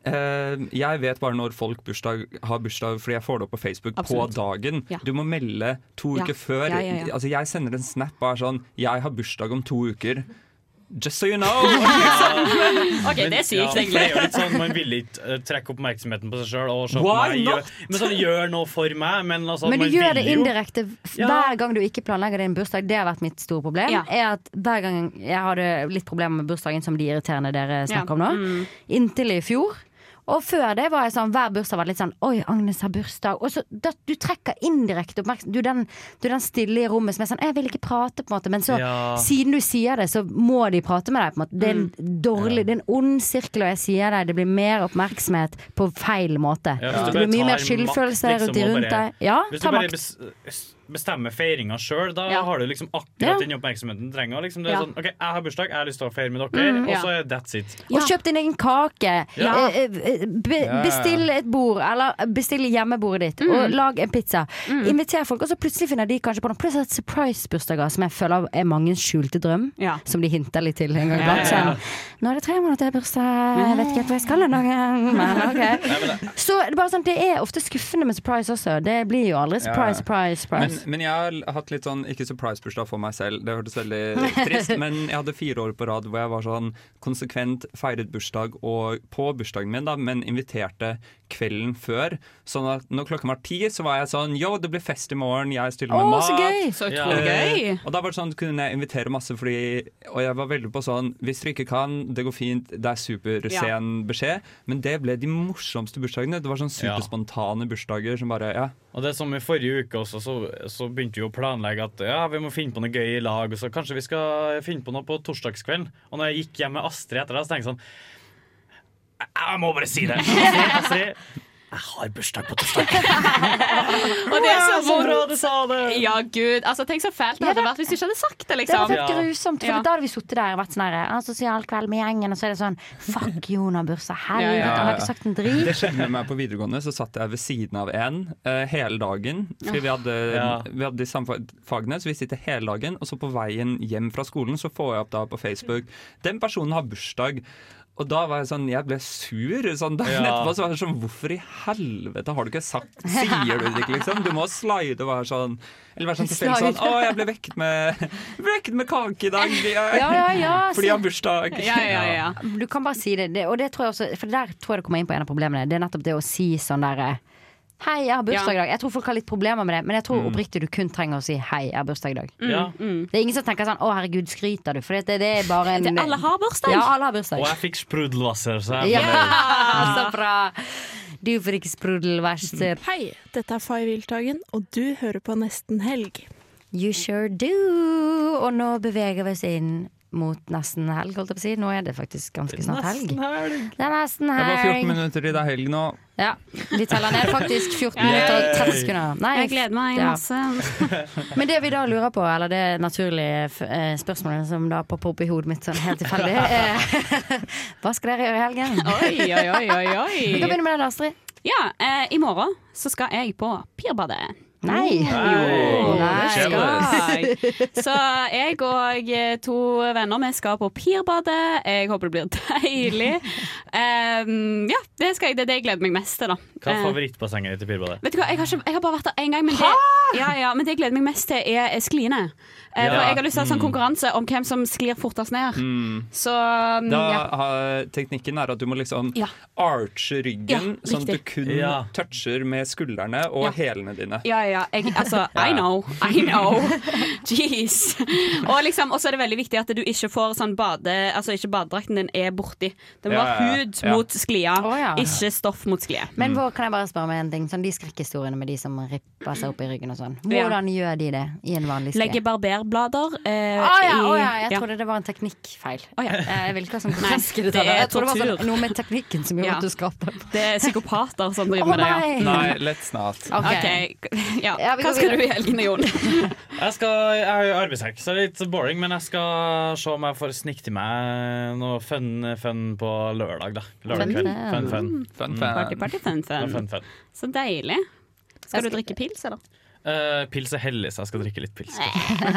S11: Eh, jeg vet bare når folk bursdag, har bursdag, fordi jeg får det opp på Facebook
S2: Absolutt.
S11: på dagen.
S2: Ja.
S11: Du må melde to
S2: Ja.
S11: uker før.
S2: Ja, ja, ja.
S11: Altså, jeg sender en snap og er sånn Jeg har bursdag om to uker. Just so you know!
S9: OK, det er sykt,
S11: Ja.
S9: egentlig.
S8: Det er jo litt sånn, Man vil ikke eh, trekke oppmerksomheten på seg sjøl.
S11: Why
S8: Gjør, men sånn, gjør noe for meg, men altså
S5: Men du
S8: man vil
S5: gjør det
S8: jo-
S5: indirekte f- hver gang du ikke planlegger din bursdag. Det har vært mitt store problem. Er at Hver gang jeg hadde litt problemer med bursdagen, som de irriterende dere snakker om nå, inntil i fjor. Og før det var jeg sånn, hver bursdag var det litt sånn Oi, Agnes har bursdag. Og så da, Du trekker indirekte oppmerksomhet. Du er den, du er den stille i rommet som er sånn Jeg vil ikke prate, på en måte. Men så,
S23: Ja.
S5: siden du sier det, så må de prate med deg, på en måte. Det er en dårlig, det er en ond sirkel, og jeg sier det. Det blir mer oppmerksomhet på feil måte.
S8: Ja, hvis
S5: Det
S8: bare
S5: blir mye
S8: tar
S5: mer skyldfølelse
S8: makt, liksom,
S5: rundt,
S8: og
S5: rundt
S8: bare-
S5: deg. Ja,
S8: hvis du
S5: ta
S8: bare
S5: makt.
S8: bes- bestemmer feiringa sjøl, da
S5: Ja.
S8: har du liksom akkurat
S5: Ja.
S8: den oppmerksomheten du trenger. Liksom. Det er
S5: Ja.
S8: sånn, ok, Jeg har bursdag, jeg har lyst til å feire med dere,
S5: Mm,
S8: og
S5: ja.
S8: så er that's it.
S5: Og kjøp din egen kake.
S8: Ja.
S5: Eh, eh, Be
S8: Ja.
S5: bestill et bord, eller eh, bestill hjemmebordet ditt,
S23: Mm.
S5: og lag en pizza.
S23: Mm.
S5: Inviter folk, og så plutselig finner de kanskje på noe. Plutselig er det surprise-bursdager, som jeg føler er mangens skjulte drøm, som de hinter litt til en gang
S23: Ja, ja,
S5: iblant.
S23: ja.
S5: Sånn, Nå er det tre måneder til bursdag, jeg vet ikke helt hva jeg skal den
S8: Mm.
S5: dagen, men ok. Så det er, bare sånn, det er ofte skuffende med surprise også. Det blir jo aldri
S11: Ja, ja.
S5: surprise, surprise, surprise.
S11: Men, men jeg har hatt litt sånn ikke surprise-bursdag for meg selv. Det hørtes veldig trist Men jeg hadde fire år på rad hvor jeg var sånn konsekvent feiret bursdag og på bursdagen min, da, men inviterte kvelden før. Sånn at når klokken var ti, så var jeg sånn Yo, det blir fest i morgen, jeg stiller med
S5: Å,
S11: mat.
S5: så gøy! Så utrolig
S11: Eh,
S5: gøy.
S11: Og da var det sånn, kunne jeg invitere masse fordi Og jeg var veldig på sånn Hvis dere ikke kan, det går fint, det er supersen beskjed. Men det ble de morsomste bursdagene. Det var sånn
S8: Ja.
S11: superspontane bursdager som bare Ja.
S8: Og det er som I forrige uke også, så, så begynte vi å planlegge at ja, vi må finne på noe gøy i lag. Og så kanskje vi skal finne på noe på torsdagskvelden. Og når jeg gikk hjem med Astrid etter det, så tenkte jeg sånn "Jeg- Jeg må bare si det. Astrid, Astrid jeg har bursdag på torsdag.
S9: Og det er så
S8: Wow, så
S9: vondt.
S8: bra du sa det!
S9: Ja, gud. Altså, tenk så fælt det hadde vært hvis du ikke hadde sagt det,
S5: Det
S9: liksom.
S5: hadde vært grusomt, for
S9: Ja.
S5: da hadde vi sittet der og vært sånn her «Ah, Sosial kveld med gjengen, og så er det sånn Fuck Jonah Bursa, helvete, han har ikke sagt en drit.
S11: Det skjedde med meg på videregående. Så satt jeg ved siden av en eh, hele dagen. Fordi vi hadde,
S8: Ja.
S11: vi hadde de samme fa- fagene, så vi sitter hele dagen. Og så på veien hjem fra skolen så får jeg opp da på Facebook Den personen har bursdag. Og da var jeg sånn, jeg ble sur. Sånn,
S8: Ja.
S11: dagen etterpå så var jeg sånn Hvorfor i helvete har du ikke sagt Sier du det ikke, liksom? Du må slide og være sånn Eller være sånn tilfeldig sånn Å,
S8: Slide.
S11: jeg ble vekket med, vekket med kake i dag.
S5: Ja, ja, ja,
S11: Fordi jeg
S5: si-
S11: har bursdag.
S5: Du kan bare si det, det og det tror jeg også For der tror jeg det kommer inn på en av problemene. Det er nettopp det å si sånn derre Hei, jeg har bursdag i dag. Jeg tror folk har litt problemer med det, men jeg tror
S11: Mm.
S5: oppriktig du kun trenger å si hei, jeg har bursdag i dag.
S8: Ja.
S5: Det er ingen som tenker sånn å herregud, skryter du? For det, det er bare en
S9: Det- alle har bursdag.
S5: Ja, alle har bursdag.
S8: Og jeg fikk sprudelvasser, så jeg
S5: Ja,
S8: ble-
S5: så bra! Du får ikke sprudelverster.
S22: Hei, dette er Fay Wiltagen, og du hører på Nesten Helg.
S5: You sure do! Og nå beveger vi oss inn mot nesten helg, holdt jeg på å si. Nå er det faktisk ganske snart helg.
S11: Nesten
S5: Det er nesten
S11: Det var 14
S5: helg.
S11: minutter i det helg nå.
S5: Ja, vi teller ned faktisk 14
S11: Yay!
S5: minutter og 30 sekunder.
S9: Jeg gleder meg
S5: ja.
S9: masse.
S5: Men det vi da lurer på, eller det naturlige f- eh, spørsmålet som da popper opp i hodet mitt sånn helt tilfeldig, er hva skal dere gjøre i helgen?
S9: Oi, oi, oi, oi, oi.
S5: Vi kan begynne med deg, Astrid.
S9: Ja, eh, i morgen så skal jeg på Pirbadet.
S5: Oh, Nei.
S9: Jo,
S5: Nei.
S9: det skal
S5: Jealous.
S9: jeg. Så jeg og eh, to venner vi skal på Pirbadet. Jeg håper det blir deilig. Em, ja, det, skal jeg, det er det jeg gleder meg mest til, da.
S8: Hva er
S9: Eh,
S8: favorittbassenget ditt i Pirbadet?
S9: Vet du hva, jeg har, ikke, jeg har bare vært der én gang, men det, ja, ja, men det jeg gleder meg mest til, er er skliene. Eh,
S11: Ja.
S9: For jeg har lyst til å ha sånn
S11: Mm.
S9: konkurranse om hvem som sklir fortest ned.
S11: Mm.
S9: Så
S11: Da
S9: ja.
S11: har- teknikken er at du må liksom
S9: Ja.
S11: arche ryggen,
S9: Ja,
S11: sånn at du
S9: riktig.
S11: kun toucher med skuldrene og hælene dine.
S9: Ja, ja. Jeg, altså,
S11: Ja.
S9: I know. I know. Jeez. Og liksom, også er det veldig viktig at du ikke får sånn bade... Altså, ikke badedrakten din er borti. Det må
S5: Ja,
S9: være
S5: ja, ja.
S9: hud
S5: Ja.
S9: mot sklia,
S5: ja.
S9: ikke stoff mot sklie.
S5: Men hvor, kan jeg bare spørre meg en ting? Sånn, de skrekkhistoriene med de som ripper seg opp i ryggen og sånn. Hvordan gjør de det i en vanlig skli?
S9: Legge barberblader eh,
S5: Å
S9: i-
S5: ja, å ja, jeg
S9: ja.
S5: trodde det var en teknikkfeil.
S9: Å ja.
S5: Eh, Jeg vil ikke ha sånn
S9: Nei,
S5: groteske
S9: det
S5: detaljer.
S9: er
S5: Jeg trodde det var
S9: tortur.
S5: sånn, noe med teknikken som gjorde
S9: Ja.
S5: at du skrapte.
S9: Det er psykopater som driver
S5: Å,
S9: med det. ja.
S11: Nei, lett snart.
S9: OK. Ja.
S5: vi
S9: Hva
S5: går
S9: skal du i
S5: videre.
S9: helgen, Jon?
S8: Jeg, skal, jeg er jo arbeidshelg, så det er litt boring, men jeg skal se om jeg får snike til meg noe fun, fun på lørdag. da Lørdag kveld. Fun, fun.
S11: Fun,
S8: Mm.
S11: fun.
S9: Party, party, fun, fun.
S8: Ja, fun, fun.
S9: Så deilig. Skal du drikke pils, eller?
S8: Eh, pils er hellig, så jeg skal drikke litt pils.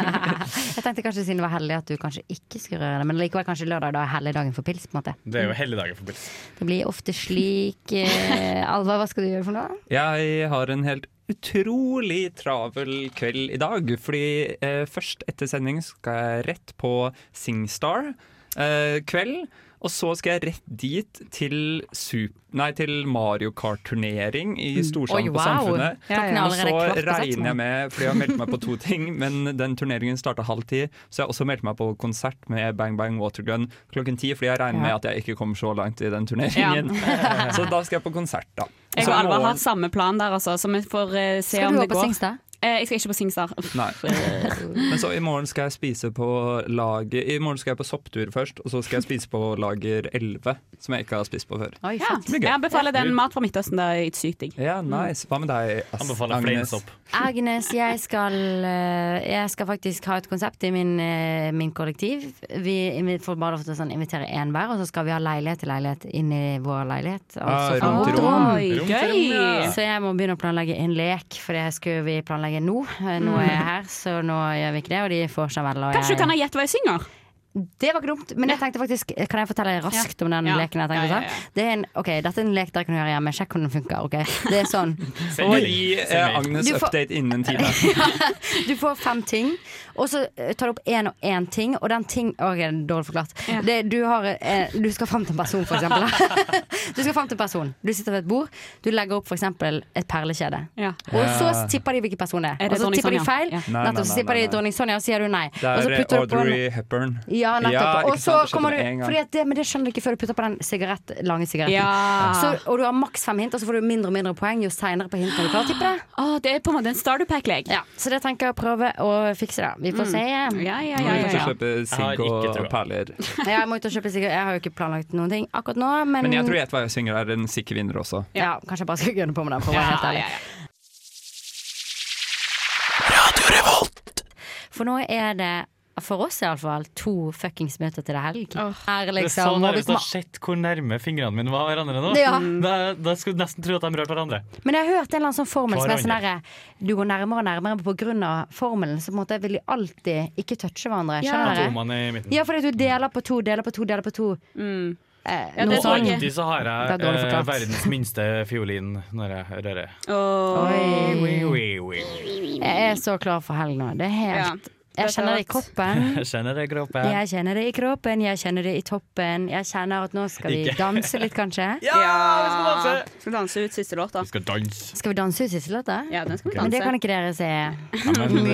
S5: Jeg tenkte kanskje siden det var hellig at du kanskje ikke skulle røre det, men likevel kanskje lørdag da er helligdagen for pils. på en måte.
S8: Det er jo helligdagen for pils.
S5: Det blir ofte slik eh, Alva, hva skal du gjøre for noe?
S11: Jeg har en helt utrolig travel kveld i dag, fordi eh, først etter sending skal jeg rett på Singstar eh, kveld. Og så skal jeg rett dit til, sup- nei, til Mario Kart-turnering i
S5: Mm.
S11: Storsand
S5: Oi,
S11: på
S5: wow.
S11: Samfunnet.
S5: Klokken er
S11: Og så
S5: allerede kvart på seks nå.
S11: regner jeg med, fordi jeg har meldt meg på to ting, men den turneringen starta halv ti. Så jeg har også meldt meg på konsert med Bang Bang Watergun klokken ti, fordi jeg
S9: Ja.
S11: regner med at jeg ikke kommer så langt i den turneringen.
S9: Ja.
S11: så da skal jeg på konsert, da.
S9: Jeg og
S11: Så i
S9: Alva
S11: morgen-
S9: har samme plan der, altså, så vi får eh, se
S5: Skal
S9: om
S5: du
S9: det går.
S5: også på Singstar?
S9: Eh, jeg skal ikke på Singstar.
S11: Nei.
S9: eh,
S11: Men så i morgen skal jeg spise på lager I morgen skal jeg på sopptur først, og så skal jeg spise på lager 11, som jeg ikke har spist på før.
S9: Oi,
S11: Det blir
S9: ja,
S11: gøy.
S9: jeg anbefaler den Mat fra Midtøsten. Det er sykt digg.
S11: Ja, nice. Hva med deg, Agnes?
S8: Anbefaler fleinsopp.
S5: Agnes, jeg skal, eh, jeg skal faktisk ha et konsept i min, eh, min kollektiv. Vi invi- får bare lov til å sånn, invitere én hver, og så skal vi ha leilighet til leilighet inn i vår leilighet.
S11: Ah,
S5: Altså,
S11: rom til
S5: for-
S11: rom. Oi, Rom til gøy! rom, ja.
S5: Så jeg må begynne å planlegge en lek, for det skulle vi planlegge nå. Eh, Nå er jeg her, så nå gjør vi ikke det, og de får seg vel. og
S9: Kanskje
S5: jeg-
S9: du kan ha gjett hva jeg synger?
S5: det var ikke dumt, men jeg tenkte faktisk Kan jeg fortelle raskt om den
S9: Ja.
S5: leken? jeg tenkte
S9: Ja,
S5: å ta? Det er en, ok, Dette er en lek dere kan gjøre hjemme. Sjekk hvordan den funker. ok? Det er sånn.
S11: Og gi eh, Agnes
S5: Du får-
S11: update innen en time.
S5: Du får fem ting, og så eh, tar du opp én og én ting, og den ting Å, det er dårlig forklart. Det, du, har, eh, du skal fram til en person, for eksempel. du skal fram til en person. Du sitter ved et bord, du legger opp for eksempel et perlekjede.
S9: Ja.
S5: Og så
S11: Ja.
S5: tipper de hvilken person det
S9: Er
S5: er.
S9: det
S5: Og så
S9: dronning
S5: tipper de
S9: Sonja?
S5: feil.
S9: Ja.
S11: Nei, nei,
S5: Nettopp så
S11: nei,
S5: tipper de
S11: nei, nei.
S5: dronning Sonja, og sier du nei.
S11: Det
S5: og så
S11: er eh,
S5: putter du på en-
S11: Audrey Hepburn.
S5: ja, nettopp.
S11: ikke
S5: og så
S11: sant, det skjedde
S5: kommer du,
S11: med en gang.
S5: fordi at det, men det skjønner du ikke før du putter på den sigarett, lange sigaretten.
S9: Ja.
S5: Så, og du har maks fem hint, og så får du mindre og mindre poeng jo seinere på hintene du klarer å tippe det.
S9: Å, det er på en måte en starter pack-lek.
S5: Ja, så det tenker jeg å prøve å fikse, da. Vi får
S9: Mm.
S5: se.
S9: Ja, ja,
S11: Vi
S9: ja,
S11: får
S9: ja, ja.
S11: kjøpe
S8: har
S11: sigg
S8: ikke
S11: og
S8: trua.
S11: perler.
S5: Ja, jeg må ut og kjøpe sigaretter. Jeg har jo ikke planlagt noen ting akkurat nå, men,
S11: Men jeg tror Gjett hva jeg synger er en sikker vinner også.
S5: ja, Kanskje jeg bare skal gønne på med den, for å være helt ærlig. For nå er det, for oss iallfall, to fuckings møter til det helg. Her
S8: Det er så
S11: sånn
S5: liksom, og vi
S8: nærmest å
S5: kommer-
S8: sett hvor nærme fingrene mine var hverandre nå.
S5: Ja.
S8: Mm, Da, da skulle du nesten tro at de rørte hverandre.
S5: Men jeg har hørt en eller annen sånn formel som er sånn
S8: Hverandre.
S5: derre Du går nærmere og nærmere på grunn av formelen, så på en måte vil de alltid ikke touche hverandre. Skjønner dere?
S8: Atomene i midten.
S5: Ja, fordi at du deler på to, deler på to, deler på to. Eh,
S9: Mm. Ja,
S5: noe
S9: det
S8: Og
S5: sånn.
S8: alltid så har
S5: Det er
S8: jeg
S5: dårlig
S8: eh,
S5: forklart.
S8: verdens minste fiolin når jeg rører.
S9: Oi.
S8: Oi, oi, oi.
S5: Jeg er så klar for helg nå. Det er helt Jeg kjenner det i kroppen.
S8: Jeg Kjenner det i kroppen.
S5: Jeg kjenner det i kroppen, jeg kjenner det i toppen. Jeg kjenner at nå skal vi
S8: Ikke.
S5: danse litt, kanskje.
S9: Ja, vi skal danse ut siste låt, da.
S8: Skal danse.
S5: Skal vi danse ut siste låta?
S9: Ja, den skal vi
S5: Men det
S9: danse.
S5: kan ikke dere se.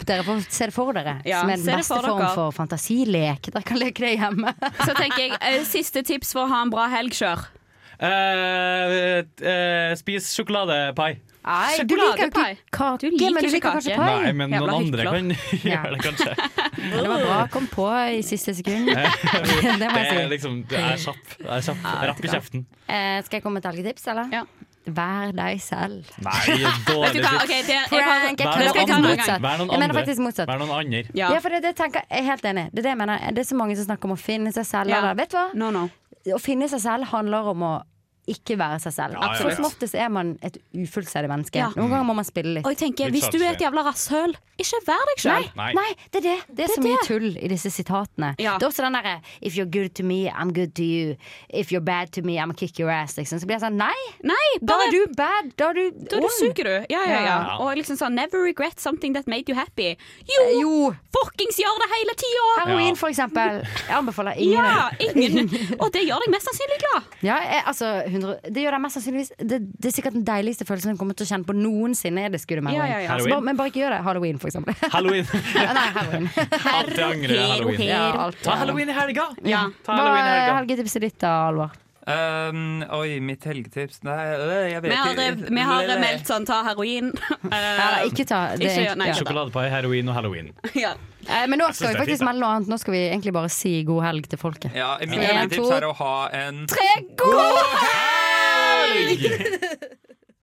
S5: Dere får se det for dere,
S9: Mm. Ja,
S5: som er den
S9: se det
S5: beste
S9: for dere.
S5: form for fantasilek. Dere kan leke det hjemme.
S9: Så tenker jeg, eh, siste tips for å ha en bra helg, kjør.
S8: Eh, eh, spis sjokoladepai.
S9: Nei,
S5: du liker ikke kake, men du liker kanskje pai.
S8: Nei, men noen andre kan gjøre det, kanskje.
S5: Det var bra. Kom på i siste sekund. det må
S8: Det
S5: jeg si.
S8: er liksom Jeg er kjapp. Jeg er kjapp. Rapp i kjeften.
S5: Eh, skal jeg komme med et helgetips, eller? Vær deg selv.
S8: Nei,
S5: Vet du
S8: dårlig
S5: hva,
S8: tips.
S5: ok, det- jeg har- Prank, jeg
S8: Vær noen
S5: kødder faktisk
S8: andre. Vær
S5: motsatt.
S8: noen
S5: Jeg mener
S8: andre.
S5: faktisk motsatt.
S8: Vær noen andre.
S5: Ja, for det, det tenker jeg jeg er helt enig. Det er det jeg mener. Det er så mange som snakker om å finne seg selv.
S9: Ja.
S5: Eller, vet du hva?
S9: No, no.
S5: Å finne seg selv handler om å ikke være seg selv.
S9: Ja, ja,
S5: Absolutt.
S9: ja.
S5: Som oftest er man et ufullstendig menneske.
S9: Ja.
S5: Noen ganger må man spille litt.
S9: Og jeg tenker, hvis du er et jævla rasshøl, ikke vær deg sjøl.
S5: Nei, nei, det er det. Det er så mye tull i disse sitatene. Det er også den derre If you're good to me, I'm good to you. If you're bad to me, I'm kick your ass. Liksom. Så blir jeg sånn Nei! da
S9: bare-
S5: er du bad. Da er du ond.
S9: Da er du suger du. Ja, ja, ja.
S5: Ja.
S9: Og liksom sånn Never regret something that made you happy. Eh, Jo! Fuckings gjør det hele tida!
S5: Heroin, for eksempel. Jeg anbefaler ingen.
S9: Ja, ingen. Og det gjør deg mest sannsynlig glad.
S5: Ja, jeg, altså, 100, det gjør deg mest sannsynligvis det, det er sikkert den deiligste følelsen hun kommer til å kjenne på noensinne. Er det skuddet med
S9: Ja,
S5: heroin.
S9: ja, ja.
S5: Så bare, men bare ikke gjør det. Halloween, for eksempel.
S8: Halloween.
S5: Nei, halloween.
S8: Alltid angrer jeg halloween.
S5: Ja, alt.
S8: Ta halloween i helga!
S5: Ja.
S8: Ta
S5: Hva
S8: halloween i
S5: er
S8: helga.
S5: helgetipset ditt, da, Alvar?
S11: Um, oi, mitt helgetips Nei, øh, jeg vet
S9: Vi har, eh,
S11: ikke.
S9: vi har meldt sånn ta heroin.
S5: Nei, ikke ta det.
S9: Ikke gjør- nei, ikke ta.
S8: Sjokoladepai, heroin og halloween.
S9: Ja.
S5: Eh, men nå
S8: Jeg synes
S5: skal
S8: det er
S5: vi
S8: fint,
S5: faktisk
S8: da.
S5: melde noe annet. Nå skal vi egentlig bare si god helg til folket.
S11: Ja, mitt
S5: En,
S11: helgetips
S5: to,
S11: er å ha en
S5: tre, god helg!